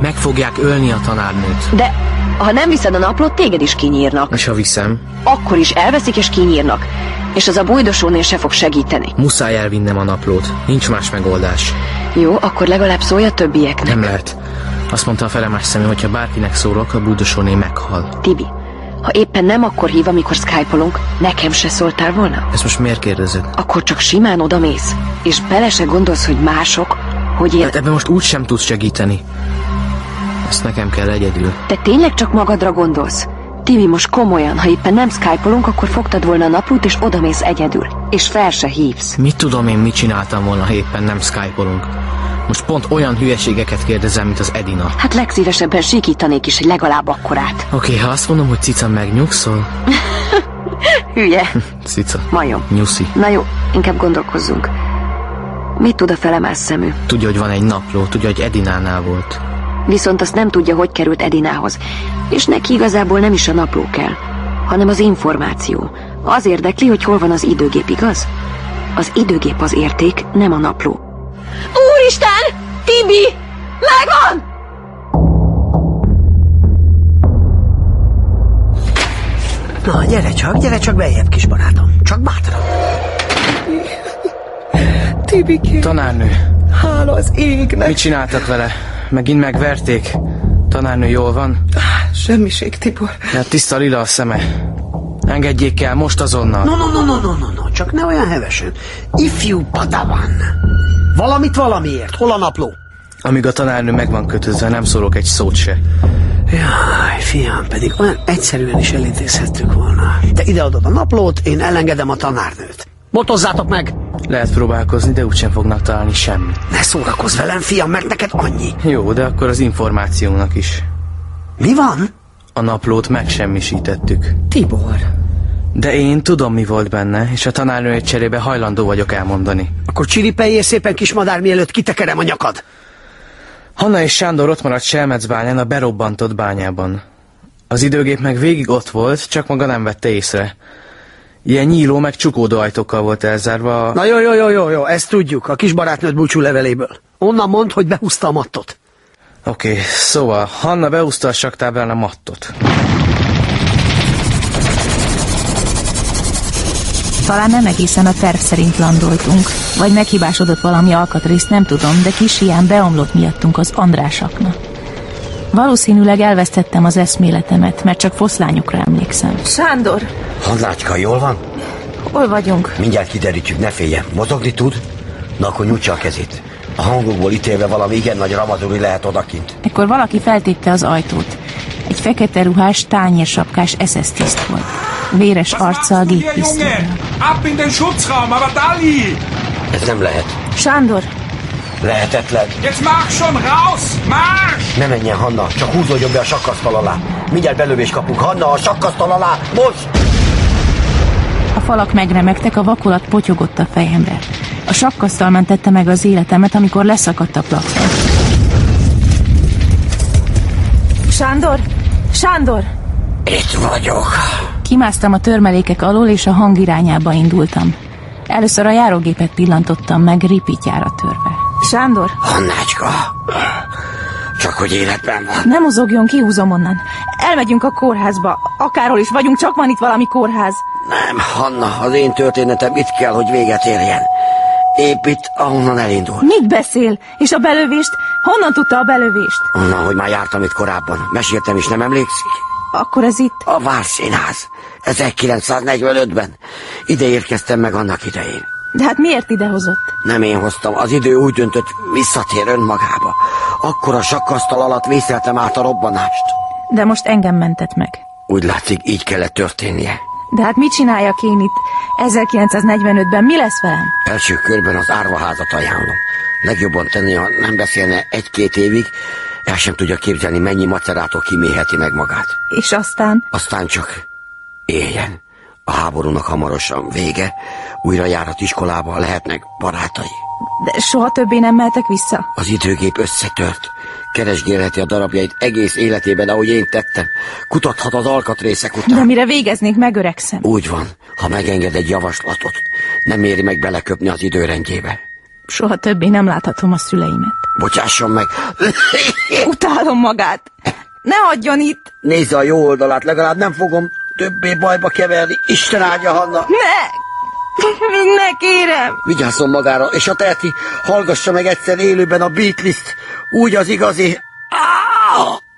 Meg fogják ölni a tanárnőt.
De ha nem viszed a naplót, téged is kinyírnak.
És ha viszem,
Akkor is elveszik és kinyírnak. És az a bújdosónél se fog segíteni.
muszáj elvinnem a naplót. Nincs más megoldás.
Jó, akkor legalább szólj a többieknek.
Nem lehet. Azt mondta a felemás szemű, hogyha bárkinek szólok, a búdosóné meghal.
Tibi, ha éppen nem akkor hív, amikor skypolunk, nekem se szóltál volna?
Ezt most miért kérdezed?
Akkor csak simán odamész, és bele se gondolsz, hogy mások, hogy én...
Hát ebben most úgy sem tudsz segíteni. Ezt nekem kell egyedül.
Te tényleg csak magadra gondolsz? Tibi, most komolyan, ha éppen nem skypolunk, akkor fogtad volna a naplót, és odamész egyedül. És fel se hívsz.
Mit tudom én, mit csináltam volna, ha éppen nem skypolunk? Most pont olyan hülyeségeket kérdezem, mint az Edina.
Hát legszívesebben sikítanék is egy legalább akkorát.
Oké, ha azt mondom, hogy cica megnyugszol,
Hülye.
cica.
Majom.
Nyuszi.
Na jó, inkább gondolkozzunk. Mit tud a felemás szemű?
Tudja, hogy van egy napló, tudja, hogy Edinánál volt.
Viszont azt nem tudja, hogy került Edinához. És neki igazából nem is a napló kell, hanem az információ. Az érdekli, hogy hol van az időgép, igaz? Az időgép az érték, nem a napló.
Úristen! Tibi! Megvan!
Na, gyere csak, gyere csak beljebb, kis barátom. Csak bátran.
Tibikém. Tanárnő,
Hála az égnek.
mit csináltak vele? Megint megverték? Tanárnő, jól van?
Semmiség, Tibor.
Hát tiszta lila a szeme. Engedjék el, most azonnal.
No, no, no, no, no, no, no, csak ne olyan hevesen. Ifjú padawan. Valamit valamiért. Hol a napló?
Amíg a tanárnő meg van kötözve, nem szólok egy szót se.
Jaj, fiam, pedig olyan egyszerűen is elintézhettük volna. Te ideadod a naplót, én elengedem a tanárnőt. Motozzátok meg!
Lehet próbálkozni, de úgysem fognak találni semmit.
Ne szórakozz velem, fiam, mert neked annyi.
Jó, de akkor az információnak is.
Mi van?
A naplót megsemmisítettük.
Tibor.
De én tudom, mi volt benne, és a tanárnőért cserébe hajlandó vagyok elmondani.
Akkor csiripeljél szépen, kismadár, mielőtt kitekerem a nyakad.
Hanna és Sándor ott maradt Selmecbányán a berobbantott bányában. Az időgép meg végig ott volt, csak maga nem vette észre. Ilyen nyíló meg csukódó ajtókkal volt elzárva a...
Na jó, jó, jó, jó, jó, ezt tudjuk, a kis barátnőd búcsú leveléből. Onnan mond, hogy behúzta a mattot.
Oké, okay, szóval Hanna beúszta a saktáblán a mattot.
Talán nem egészen a terv szerint landoltunk, vagy meghibásodott valami alkatrészt, nem tudom, de kis hián beomlott miattunk az Andrásakna. Valószínűleg elvesztettem az eszméletemet, mert csak foszlányokra emlékszem.
Sándor,
Hanlácska, jól van?
hol vagyunk?
Mindjárt kiderítjük, ne féljen. Mozogni tud? Na akkor nyújtsa a kezét. A hangokból ítélve valami igen nagy ramaduri lehet odakint.
Ekkor valaki feltépte az ajtót. Egy fekete ruhás, tányérsapkás SS tiszt volt. Véres arccal géppisztoly.
Ab in den Schutzraum, aber Dali!
Ez nem lehet.
Sándor,
Lehetetlen.
Jetzt mach schon raus! Marsch!
Ne menjen, Hanna, csak húzódjon be a sakkasztal alá. Mindjárt belövés kapunk. Hanna, a sakkasztal alá! Most!
A falak megremegtek, a vakolat potyogott a fejemre. A sapkasztal mentette meg az életemet, amikor leszakadt a plafon.
Sándor, Sándor!
Itt vagyok.
Kimásztam a törmelékek alól, és a hang irányába indultam. Először a járógépet pillantottam meg, ripityára törve. Sándor,
Hannácska! Csak hogy életben van.
ne mozogjon, kihúzom onnan. Elmegyünk a kórházba. Akárhol is vagyunk, csak van itt valami kórház.
Nem, Hanna, az én történetem itt kell, hogy véget érjen. Épp itt, ahonnan elindul.
Mit beszél? És a belövést? Honnan tudta a belövést?
Onnan, hogy már jártam itt korábban. Meséltem is, nem emlékszik?
Akkor ez itt...
A Várszínház. 1945-ben. Ide érkeztem meg annak idején.
De hát miért idehozott?
Nem én hoztam, az idő úgy döntött, visszatér önmagába. Akkor a sakkasztal alatt vészeltem át a robbanást.
De most engem mentett meg.
Úgy látszik, így kellett történnie.
De hát mit csináljak én itt? 1945-ben mi lesz velem?
Első körben az árvaházat ajánlom. Legjobban tenni, ha nem beszélne egy-két évig, el sem tudja képzelni, mennyi macerától kiméheti meg magát.
És aztán...
Aztán csak éljen. A háborúnak hamarosan vége, újra járhat iskolába, lehetnek barátai.
De soha többé nem mehetek vissza.
Az időgép összetört. Keresgélheti a darabjait egész életében, ahogy én tettem. Kutathat az alkatrészek után.
De mire végeznék, megöregszem.
Úgy van, ha megenged egy javaslatot, nem éri meg beleköpni az időrendjébe.
Soha többé nem láthatom a szüleimet.
Bocsásson meg,
Utálom magát. Ne hagyjon itt!
nézze a jó oldalát, legalább nem fogom többé bajba keverni. Isten áldja, Hanna!
Ne! Még ne kérem!
Vigyázzon magára, és a teheti, hallgassa meg egyszer élőben a Beatles-t, úgy az igazi.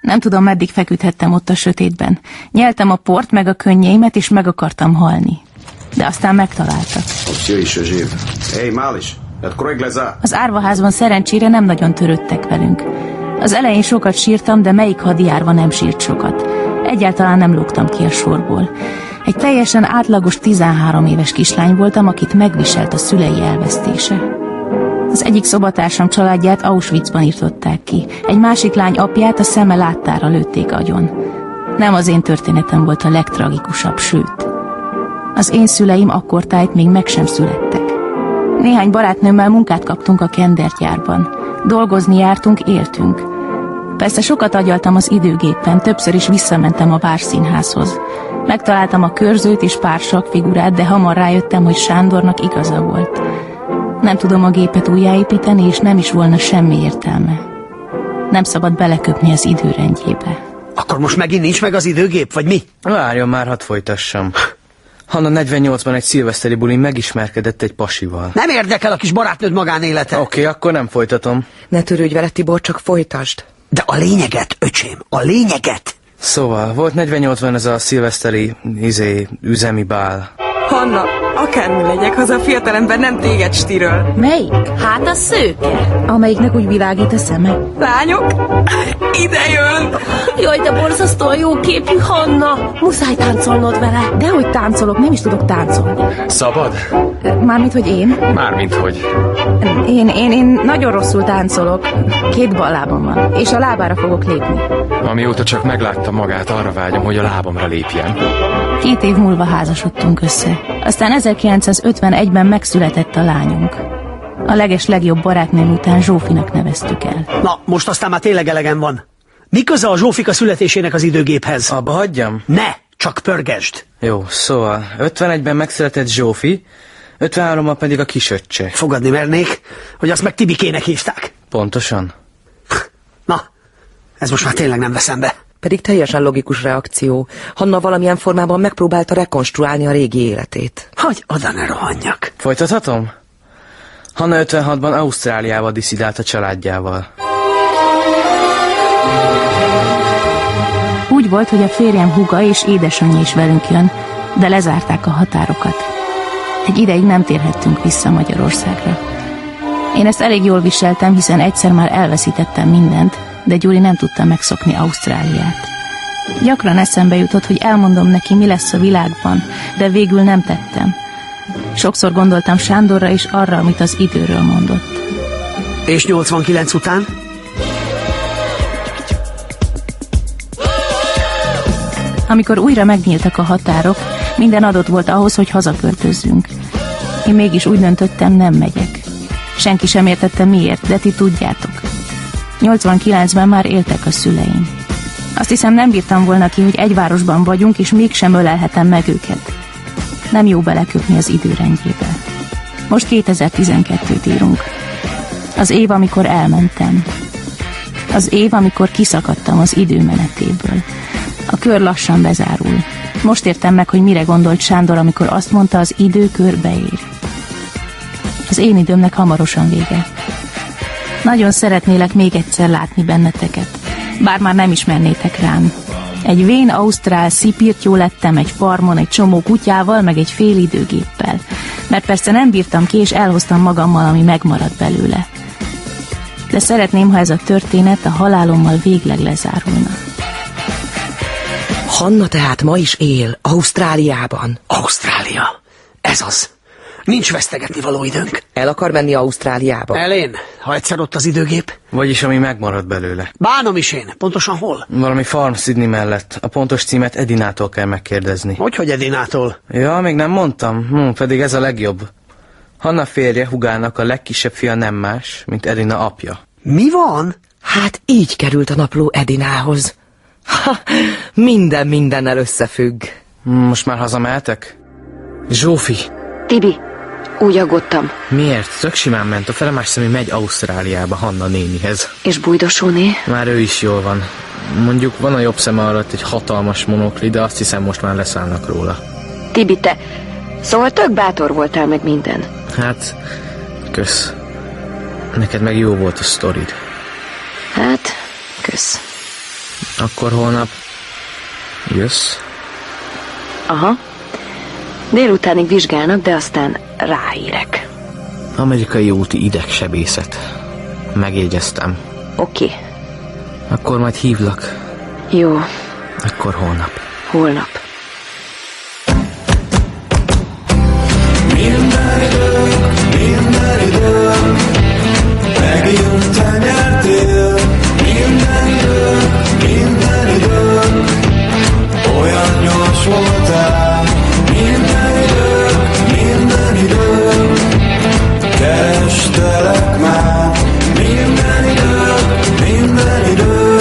Nem tudom, meddig feküdhettem ott a sötétben. Nyeltem a port, meg a könnyeimet, és meg akartam halni. De aztán megtaláltak.
Все еще жив. Эй, малыш, открой глаза.
Az árvaházban szerencsére nem nagyon törődtek velünk. Az elején sokat sírtam, de melyik hadjárva nem sírt sokat. Egyáltalán nem lógtam ki a sorból. Egy teljesen átlagos 13 éves kislány voltam, akit megviselt a szülei elvesztése. Az egyik szobatársam családját Auschwitzban írtották ki, egy másik lány apját a szeme láttára lőtték agyon. Nem az én történetem volt a legtragikusabb, sőt. Az én szüleim akkortájt még meg sem születtek. Néhány barátnőmmel munkát kaptunk a kendertjárban. Dolgozni jártunk, éltünk. Persze sokat agyaltam az időgépen, többször is visszamentem a várszínházhoz. Megtaláltam a körzőt és pár figurát, de hamar rájöttem, hogy Sándornak igaza volt. Nem tudom a gépet újjáépíteni, és nem is volna semmi értelme. Nem szabad beleköpni az időrendjébe.
Akkor most megint nincs meg az időgép, vagy mi?
Várjon már, hadd folytassam. Hanna 48-ban egy szilveszteri bulin megismerkedett egy pasival.
Nem érdekel a kis barátnőd magánélete.
Oké, okay, akkor nem folytatom.
Ne törődj vele, Tibor, csak folytasd.
De a lényeget, öcsém, a lényeget.
Szóval, volt 48-ban ez a szilveszteri, izé, üzemi bál.
Hanna,
Akármi legyek, haza a fiatalember nem téged stiröl.
Melyik? Hát a szőke. Amelyiknek úgy világít a szeme.
Lányok, ide jön!
Jaj, de borzasztóan jó képű Hanna! Muszáj táncolnod vele. De hogy táncolok, nem is tudok táncolni.
Szabad?
Mármint, hogy én.
Mármint, hogy.
Én, én, én nagyon rosszul táncolok. Két bal lábam van, és a lábára fogok lépni.
Amióta csak megláttam magát, arra vágyom, hogy a lábamra lépjen.
Két év múlva házasodtunk össze. Aztán 1951-ben megszületett a lányunk. A leges legjobb barátnőm után Zsófinak neveztük el.
Na, most aztán már tényleg elegem van. Mi köze a Zsófika születésének az időgéphez?
Abba hagyjam?
Ne, csak pörgesd.
Jó, szóval 51-ben megszületett Zsófi, 53-ban pedig a kisöccse.
Fogadni mernék, hogy azt meg Tibikének hívták.
Pontosan.
Na, ez most már tényleg nem veszem be.
Pedig teljesen logikus reakció. Hanna valamilyen formában megpróbálta rekonstruálni a régi életét.
Hogy oda ne rohanjak.
Folytathatom? Hanna 56-ban Ausztráliába diszidált a családjával.
Úgy volt, hogy a férjem huga és édesanyja is velünk jön, de lezárták a határokat. Egy ideig nem térhettünk vissza Magyarországra. Én ezt elég jól viseltem, hiszen egyszer már elveszítettem mindent, de Gyuri nem tudta megszokni Ausztráliát. Gyakran eszembe jutott, hogy elmondom neki, mi lesz a világban, de végül nem tettem. Sokszor gondoltam Sándorra és arra, amit az időről mondott.
És 89 után?
Amikor újra megnyíltak a határok, minden adott volt ahhoz, hogy hazaköltözzünk. Én mégis úgy döntöttem, nem megyek. Senki sem értette miért, de ti tudjátok. 89-ben már éltek a szüleim. Azt hiszem nem bírtam volna ki, hogy egy városban vagyunk, és mégsem ölelhetem meg őket. Nem jó beleköpni az időrendjébe. Most 2012-t írunk. Az év, amikor elmentem. Az év, amikor kiszakadtam az időmenetéből. A kör lassan bezárul. Most értem meg, hogy mire gondolt Sándor, amikor azt mondta, az idő körbeér. Az én időmnek hamarosan vége. Nagyon szeretnélek még egyszer látni benneteket, bár már nem ismernétek rám. Egy vén ausztrál szipirtyó lettem egy farmon, egy csomó kutyával, meg egy fél időgéppel. Mert persze nem bírtam ki, és elhoztam magammal, ami megmaradt belőle. De szeretném, ha ez a történet a halálommal végleg lezárulna.
Hanna tehát ma is él, Ausztráliában.
Ausztrália. Ez az. Nincs vesztegetni való időnk.
El akar menni Ausztráliába?
Elén, ha egyszer ott az időgép.
Vagyis ami megmaradt belőle.
Bánom is én. Pontosan hol?
Valami farm Sydney mellett. A pontos címet Edinától kell megkérdezni.
Hogy, hogy Edinától?
Ja, még nem mondtam. Hm, pedig ez a legjobb. Hanna férje, Hugának a legkisebb fia nem más, mint Edina apja.
Mi van?
Hát így került a napló Edinához. Ha, minden mindennel összefügg.
Hmm, Most már hazamehetek? Zsófi,
Tibi, úgy aggódtam.
miért? Tök simán ment. A felemás szemű megy Ausztráliába Hanna nénihez.
És bujdosóné?
Már ő is jól van. Mondjuk van a jobb szeme alatt egy hatalmas monokli, de azt hiszem most már leszállnak róla.
Tibi, te. Szóval tök bátor voltál meg minden.
Hát, kösz. Neked meg jó volt a sztorid.
Hát, kösz.
Akkor holnap jössz?
Aha. Délutánig vizsgálnak, de aztán ráérek.
Amerikai úti idegsebészet. Megjegyeztem.
Oké,
Akkor majd hívlak.
jó,
Akkor holnap.
holnap.
Minden idő, megint te nyertél. Minden idő, minden idő, olyan gyors voltál. Minden idő, minden idő, kerestelek már. Minden idő, minden idő,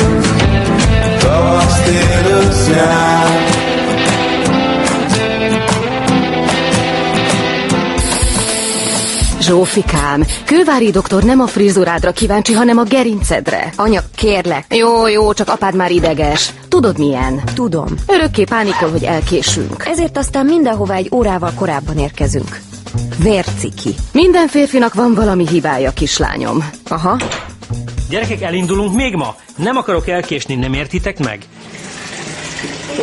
tavasz, tél, ősz, nyár.
Zsófikám, Kővári doktor nem a frizurádra kíváncsi, hanem a gerincedre. Anya, kérlek. Jó, jó, csak apád már ideges. Tudod milyen? Tudom. Örökké pánikol, hogy elkésünk. Ezért aztán mindenhova egy órával korábban érkezünk. Vérciki. Minden férfinak van valami hibája, kislányom. Aha.
Gyerekek, elindulunk még ma? Nem akarok elkésni, nem értitek meg?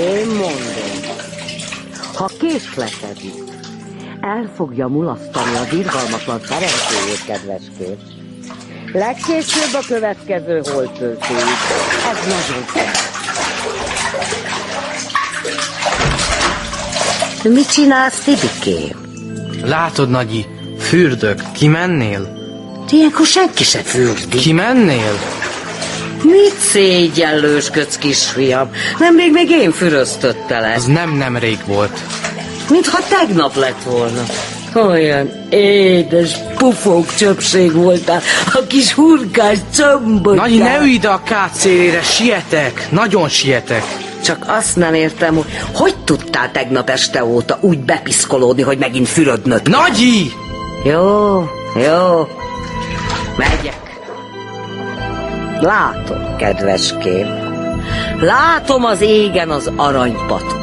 Én mondom, ha késlekedik,
El fogja mulasztani a virgalmatlan szerencsőjét, kedveskét. Legkésőbb a következő holtőzőig. Ez nagyon szép.
Mit csinálsz, Tibiké?
Látod, Nagyi, fürdök. Kimennél?
Ilyenkor senki se fürdik.
Kimennél?
Mit szégyellősködsz, kisfiam? Nemrég még én füröztöttelek.
Az nem nemrég volt.
Mintha tegnap lett volna. Olyan édes pufók csöpség voltál, a kis hurkás combot.
Nagyi, ne ülj ide a kád szélére, sietek, nagyon sietek.
Csak azt nem értem, hogy hogy tudtál tegnap este óta úgy bepiszkolódni, hogy megint fürödnöd?
Nagyi!
Jó, jó. Megyek. Látom, kedveském. Látom az égen az aranypatkót.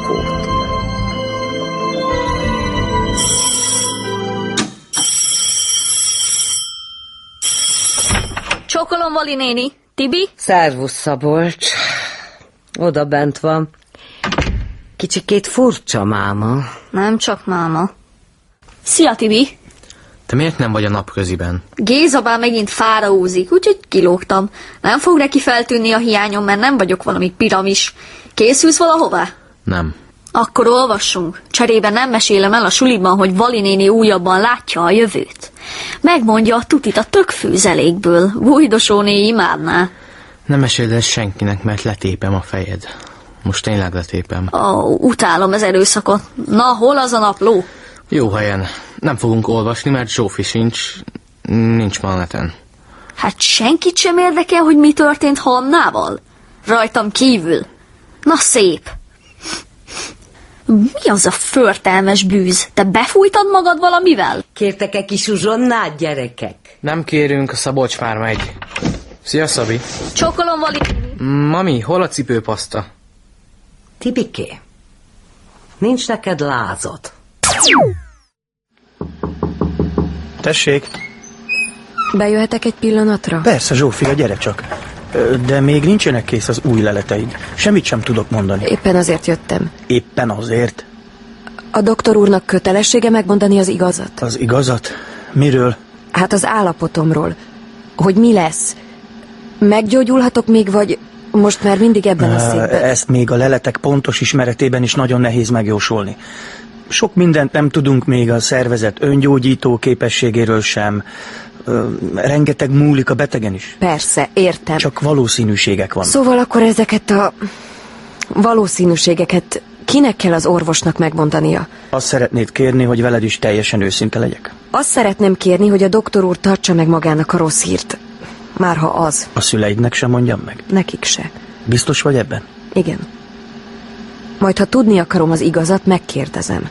Csókolom, Vali néni. Tibi?
Szervusz, Szabolcs. Oda bent van. Kicsikét furcsa, máma.
Nem csak máma. Szia, Tibi.
Te miért nem vagy a napköziben?
Géza bár megint fára úzik, úgyhogy kilógtam. Nem fog neki feltűnni a hiányom, mert nem vagyok valami piramis. Készülsz valahová?
Nem.
Akkor olvassunk. Cserébe nem mesélem el a suliban, hogy Vali néni újabban látja a jövőt. Megmondja a tutit a tökfűzelékből. Bújdosóné imádná.
Nem meséld el senkinek, mert letépem a fejed. Most tényleg letépem.
Ó, utálom az erőszakot. Na, hol az a napló?
Jó helyen. Nem fogunk olvasni, mert Zsófi sincs. Nincs ma a neten.
Hát senkit sem érdekel, hogy mi történt Hamnával? Rajtam kívül. Na szép. Mi az a förtelmes bűz? Te befújtad magad valamivel?
Kértek-e kis uzsonnát, gyerekek?
Nem kérünk, a Szabolcs már megy. Szia, Szabi.
Csókolom, Vali.
Mami, hol a cipőpaszta?
Tibiké, nincs neked lázad.
Tessék. Bejöhetek egy pillanatra? Persze, Zsófia, gyere csak. Ö, De még nincsenek kész az új leleteid. Semmit sem tudok mondani. Éppen azért jöttem. Éppen azért. A doktor úrnak kötelessége megmondani az igazat? Az igazat? Miről? Hát az állapotomról. Hogy mi lesz? Meggyógyulhatok még, vagy most már mindig ebben a Ö, székben? Ezt még a leletek pontos ismeretében is nagyon nehéz megjósolni. Sok mindent nem tudunk még a szervezet öngyógyító képességéről sem. Ö, Rengeteg múlik a betegen is. Persze, értem. Csak valószínűségek vannak. Szóval akkor ezeket a valószínűségeket kinek kell az orvosnak megmondania? Azt szeretnéd kérni, hogy veled is teljesen őszinte legyek. Azt szeretném kérni, hogy a doktor úr tartsa meg magának a rossz hírt. Márha az, A szüleidnek sem mondjam meg. nekik se. Biztos vagy ebben? Igen. Majd, ha tudni akarom az igazat, megkérdezem.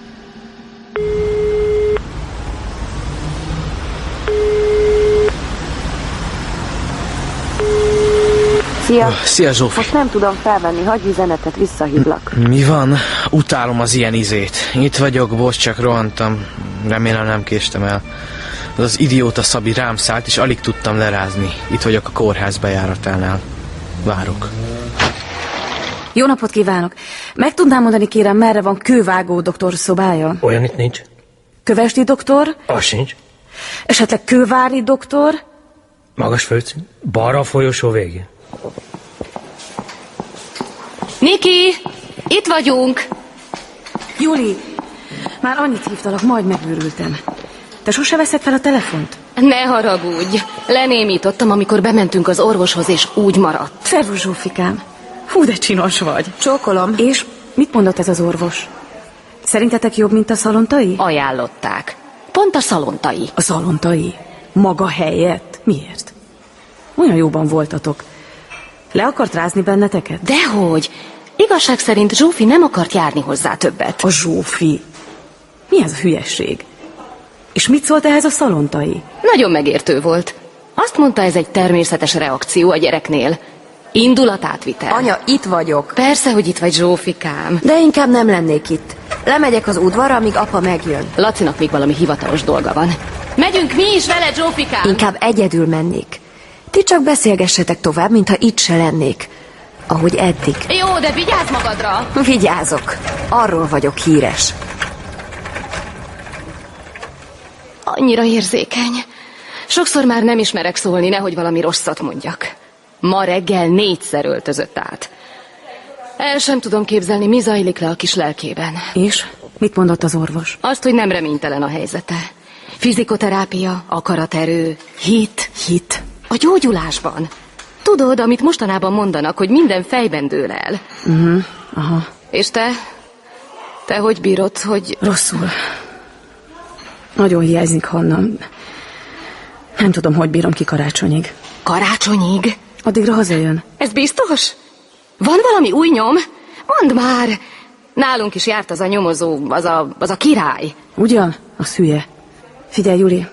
Szia!
Szia, Zsófi.
Most nem tudom felvenni, hagyj üzenetet, visszahívlak.
Mi van? Utálom az ilyen izét. Itt vagyok, bocs, csak rohantam. Remélem nem késtem el. Az az idióta Szabi rám szállt, és alig tudtam lerázni. Itt vagyok a kórház bejáratánál. Várok.
Jó napot kívánok! Meg tudnám mondani, kérem, merre van kővágó doktor szobája?
Olyan itt nincs.
Kövesdi doktor?
Az sincs.
Esetleg kővári doktor?
Magas földszín. Balra a folyosó végén.
Niki! Itt vagyunk! Juli! Már annyit hívtalak, majd megőrültem. Te sose veszed fel a telefont?
Ne haragudj! Lenémítottam, amikor bementünk az orvoshoz, és úgy maradt.
Szervus, Zsófikám! Hú, de csinos vagy! Csókolom! És mit mondott ez az orvos? Szerintetek jobb, mint a szalontai? Ajánlották. Pont a szalontai. A szalontai? Maga helyett? Miért? Olyan jóban voltatok. Le akart rázni benneteket?
Dehogy! Igazság szerint Zsófi nem akart járni hozzá többet.
A Zsófi? Mi ez a hülyeség? És mit szólt ehhez a szalontai?
Nagyon megértő volt. Azt mondta, ez egy természetes reakció a gyereknél. Indulatátvitel. Anya,
itt vagyok.
Persze, hogy itt vagy, Zsófikám.
De inkább nem lennék itt. Lemegyek az udvarra, amíg apa megjön.
Lacinak még valami hivatalos dolga van. Megyünk mi is vele, Zsófikám!
Inkább egyedül mennék. Ti csak beszélgessetek tovább, mintha itt se lennék. Ahogy eddig.
Jó, de vigyázz magadra!
Vigyázok, arról vagyok híres.
Annyira érzékeny. Sokszor már nem ismerek szólni, nehogy valami rosszat mondjak. Ma reggel négyszer öltözött át. El sem tudom képzelni, mi zajlik le a kis lelkében.
És? Mit mondott az orvos?
Azt, hogy nem reménytelen a helyzete. Fizikoterápia, akaraterő, hit. Hit. A gyógyulásban. Tudod, amit mostanában mondanak, hogy minden fejben dől el.
Mhm, aha.
És te? Te hogy bírod, hogy...
Rosszul. Nagyon hiányzik honnan. Nem tudom, hogy bírom ki karácsonyig.
Karácsonyig?
Addigra hazajön.
Ez biztos? Van valami új nyom? Mondd már! Nálunk is járt az a nyomozó, az a, az a király.
Ugyan? Az hülye. Figyelj, Juli.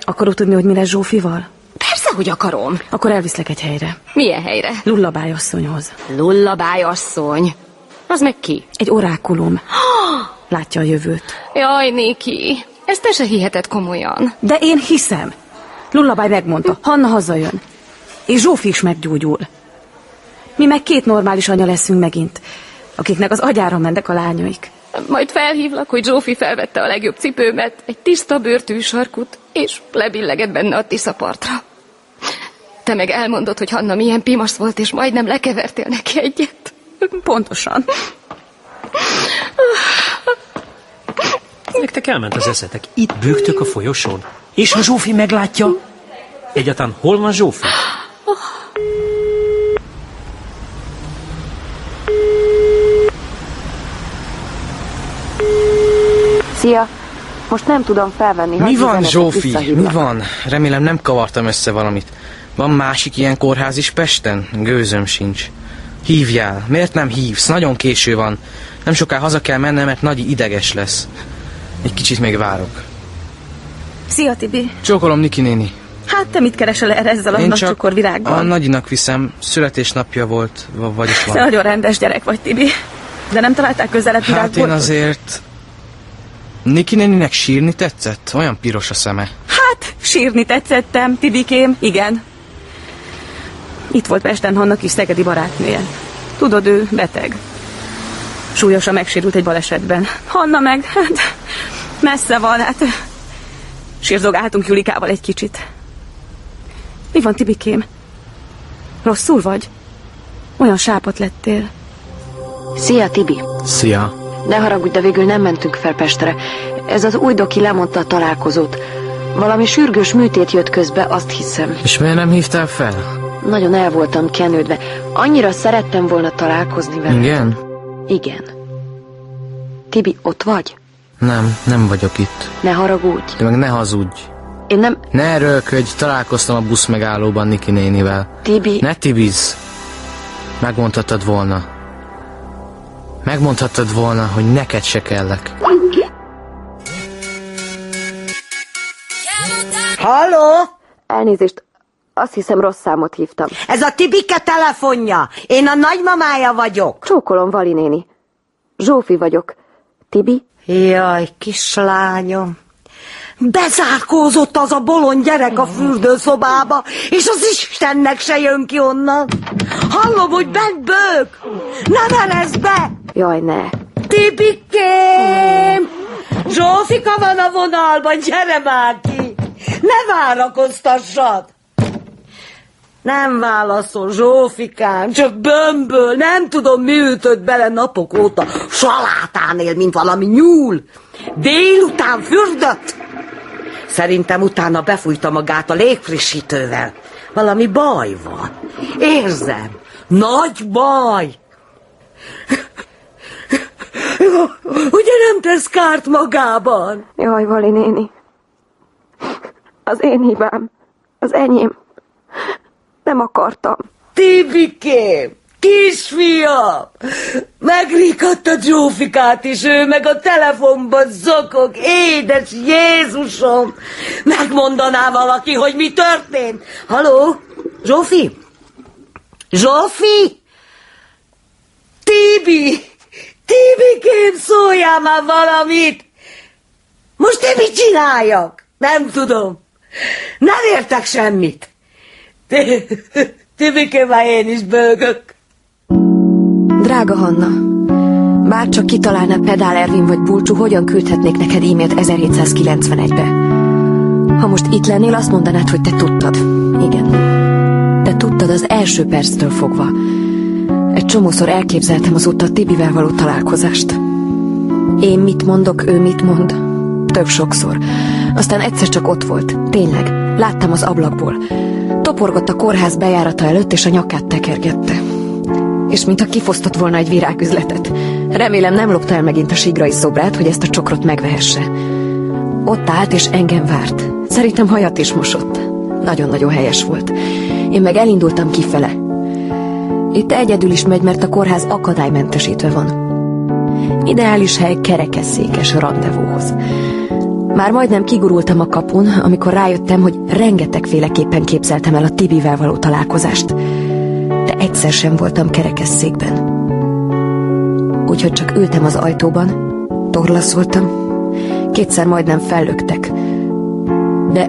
Akarod tudni, hogy mi lesz Zsófival?
Persze, hogy akarom.
Akkor elviszlek egy helyre.
Milyen helyre?
Lullabály asszonyhoz.
Lullabály asszony. Az meg ki?
Egy orákulum. Látja a jövőt.
Jaj, Niki, ezt te se hiheted komolyan.
De én hiszem. Lullabály megmondta, Hanna hazajön. És Zsófi is meggyógyul. Mi meg két normális anya leszünk megint, akiknek az agyára mennek a lányaik.
Majd felhívlak, hogy Zsófi felvette a legjobb cipőmet, egy tiszta bőrtű sarkut, és lebilleged benne a Tisza partra. Te meg elmondod, hogy Hanna milyen pimasz volt, és majdnem lekevertél neki egyet.
Pontosan.
Nektek elment az eszetek. Itt bőgtök a folyosón. És ha Zsófi meglátja... Egyáltalán hol van Zsófi?
Ah.
Szia! Most nem tudom felvenni.
Mi
hagyd
van,
üzenetet,
Zsófi? Mi
visszahívlak.
van? Remélem nem kavartam össze valamit. Van másik ilyen kórház is Pesten? Gőzöm sincs. Hívjál. Miért nem hívsz? Nagyon késő van. Nem soká haza kell mennem, mert nagy ideges lesz. Egy kicsit még várok.
Szia, Tibi.
Csókolom, Niki néni.
Hát te mit keresel erre ezzel a
Én
nagy
csak
Hát
cukorvirágban?
A nagyinak viszem. Születésnapja volt, v- vagyis
Te
van.
nagyon rendes gyerek vagy, Tibi. De nem találták közelebb
Hát
virágboltot?
én azért... Niki néninek sírni tetszett? Olyan piros a szeme.
Hát, sírni tetszettem, Tibikém, igen. Itt volt Pesten Hanna kis szegedi barátnője. Tudod, ő beteg. Súlyosan megsérült egy balesetben. Hanna meg, hát, messze van, hát... Sírzogáltunk Julikával egy kicsit. Mi van, Tibikém? Rosszul vagy? Olyan sápat lettél.
Szia, Tibi!
Szia.
Ne haragudj, de végül nem mentünk fel Pestre. Ez az új doki lemondta a találkozót. Valami sürgős műtét jött közbe, azt hiszem.
És miért nem hívtál fel?
Nagyon el voltam kenődve. Annyira szerettem volna találkozni vele.
Igen?
Igen. Tibi, ott vagy?
Nem, nem vagyok itt.
Ne haragudj.
De meg ne hazudj.
Én nem...
Ne erőlködj, találkoztam a busz megállóban Niki nénivel.
Tibi...
Ne Tibiz! Megmondhattad volna. Megmondhattad volna, hogy neked se kellek.
Halló?
Elnézést, azt hiszem rossz számot hívtam.
Ez a Tibike telefonja. Én a nagymamája vagyok.
Csókolom, Vali néni. Zsófi vagyok. Tibi?
Jaj, kislányom. Bezárkózott az a bolond gyerek a fürdőszobába, és az Istennek se jön ki onnan. Hallom, hogy bent bők. Ne verezd be!
Jaj, ne.
Tibikém! Zsófika van a vonalban, gyere már ki! Ne várakoztassad! Nem válaszol, Zsófikám, csak bömböl, nem tudom, mi ütött bele napok óta. Salátán él, mint valami nyúl. Délután fürdött. Szerintem utána befújta magát a légfrissítővel. Valami baj van. Érzem. Nagy baj. Ugye nem tesz kárt magában?
Jaj, Vali néni. Az én hibám. Az enyém. Nem akartam.
Tibikém, kisfiam, megrikadt a Zsófikát is, ő meg a telefonban zokog, édes Jézusom! Megmondaná valaki, hogy mi történt? Haló? Zsófi? Zsófi? Tibi! Tibikém, szóljál már valamit! Most én mit csináljak? Nem tudom. Nem értek semmit. Ti- Tibikém, már én is bőgök.
Drága Hanna,
Bár csak kitalálna Pedál Ervin vagy Bulcsú, hogyan küldhetnék neked e-mailt 1791-be. Ha most itt lennél, azt mondanád, hogy te tudtad. Igen. Te tudtad az első perctől fogva. Egy csomószor elképzeltem azóta a Tibivel való találkozást. Én mit mondok, ő mit mond. Több sokszor. Aztán egyszer csak ott volt. Tényleg. Láttam az ablakból. Toporgott a kórház bejárata előtt, és a nyakát tekergette. És mintha kifosztott volna egy virágüzletet. Remélem nem lopta el megint a sigrai szobrát, hogy ezt a csokrot megvehesse. Ott állt és engem várt. Szerintem hajat is mosott. Nagyon-nagyon helyes volt. Én meg elindultam kifele. Itt egyedül is megy, mert a kórház akadálymentesítve van. Ideális hely kerekesszékes rendezvóhoz. Már majdnem kigurultam a kapun, amikor rájöttem, hogy rengetegféleképpen képzeltem el a Tibivel való találkozást. De egyszer sem voltam kerekesszékben. Úgyhogy csak ültem az ajtóban, torlaszoltam, kétszer majdnem fellöktek. De,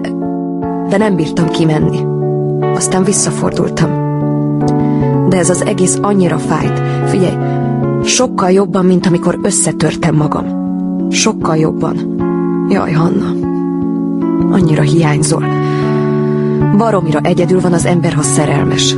de nem bírtam kimenni. Aztán visszafordultam. De ez az egész annyira fájt. Figyelj, sokkal jobban, mint amikor összetörtem magam. Sokkal jobban. Jaj, Hanna. Annyira hiányzol. Baromira egyedül van az ember, ha szerelmes.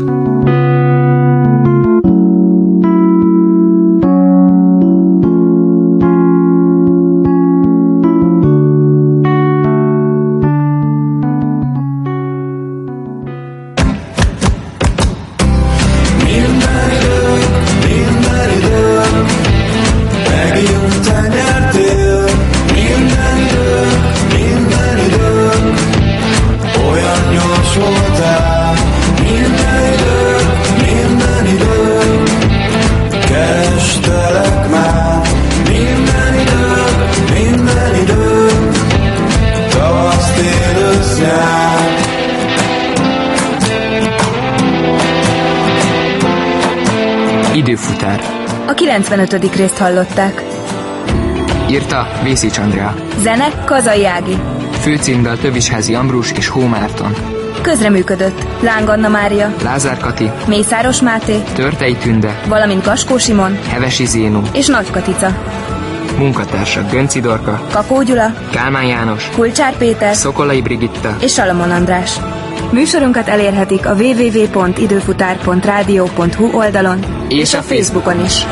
Minden értél, minden idők, minden idők, olyan gyors voltál. Minden idők, minden idők, kerestelek már. Minden idők, minden idők, tavasz, tél, ősz, nyár.
Időfutár.
A 95. részt hallották.
Írta Vészics Andrea.
Zene Kazai Ági.
Főcímdal Tövisházi Ambrus és Hó Márton.
Közreműködött Láng Anna Mária,
Lázár Kati.
Mészáros Máté,
Törtei Tünde.
valamint Kaskó Simon
Hevesi Zénó.
és Nagy Katica.
Munkatársak Gönci Dorka.
Kakó Gyula,
Kálmán János.
Kulcsár Péter
Szokolai Brigitta.
és Salamon András. Műsorunkat elérhetik a www.időfutár.rádió.hu oldalon
És
a Facebookon is.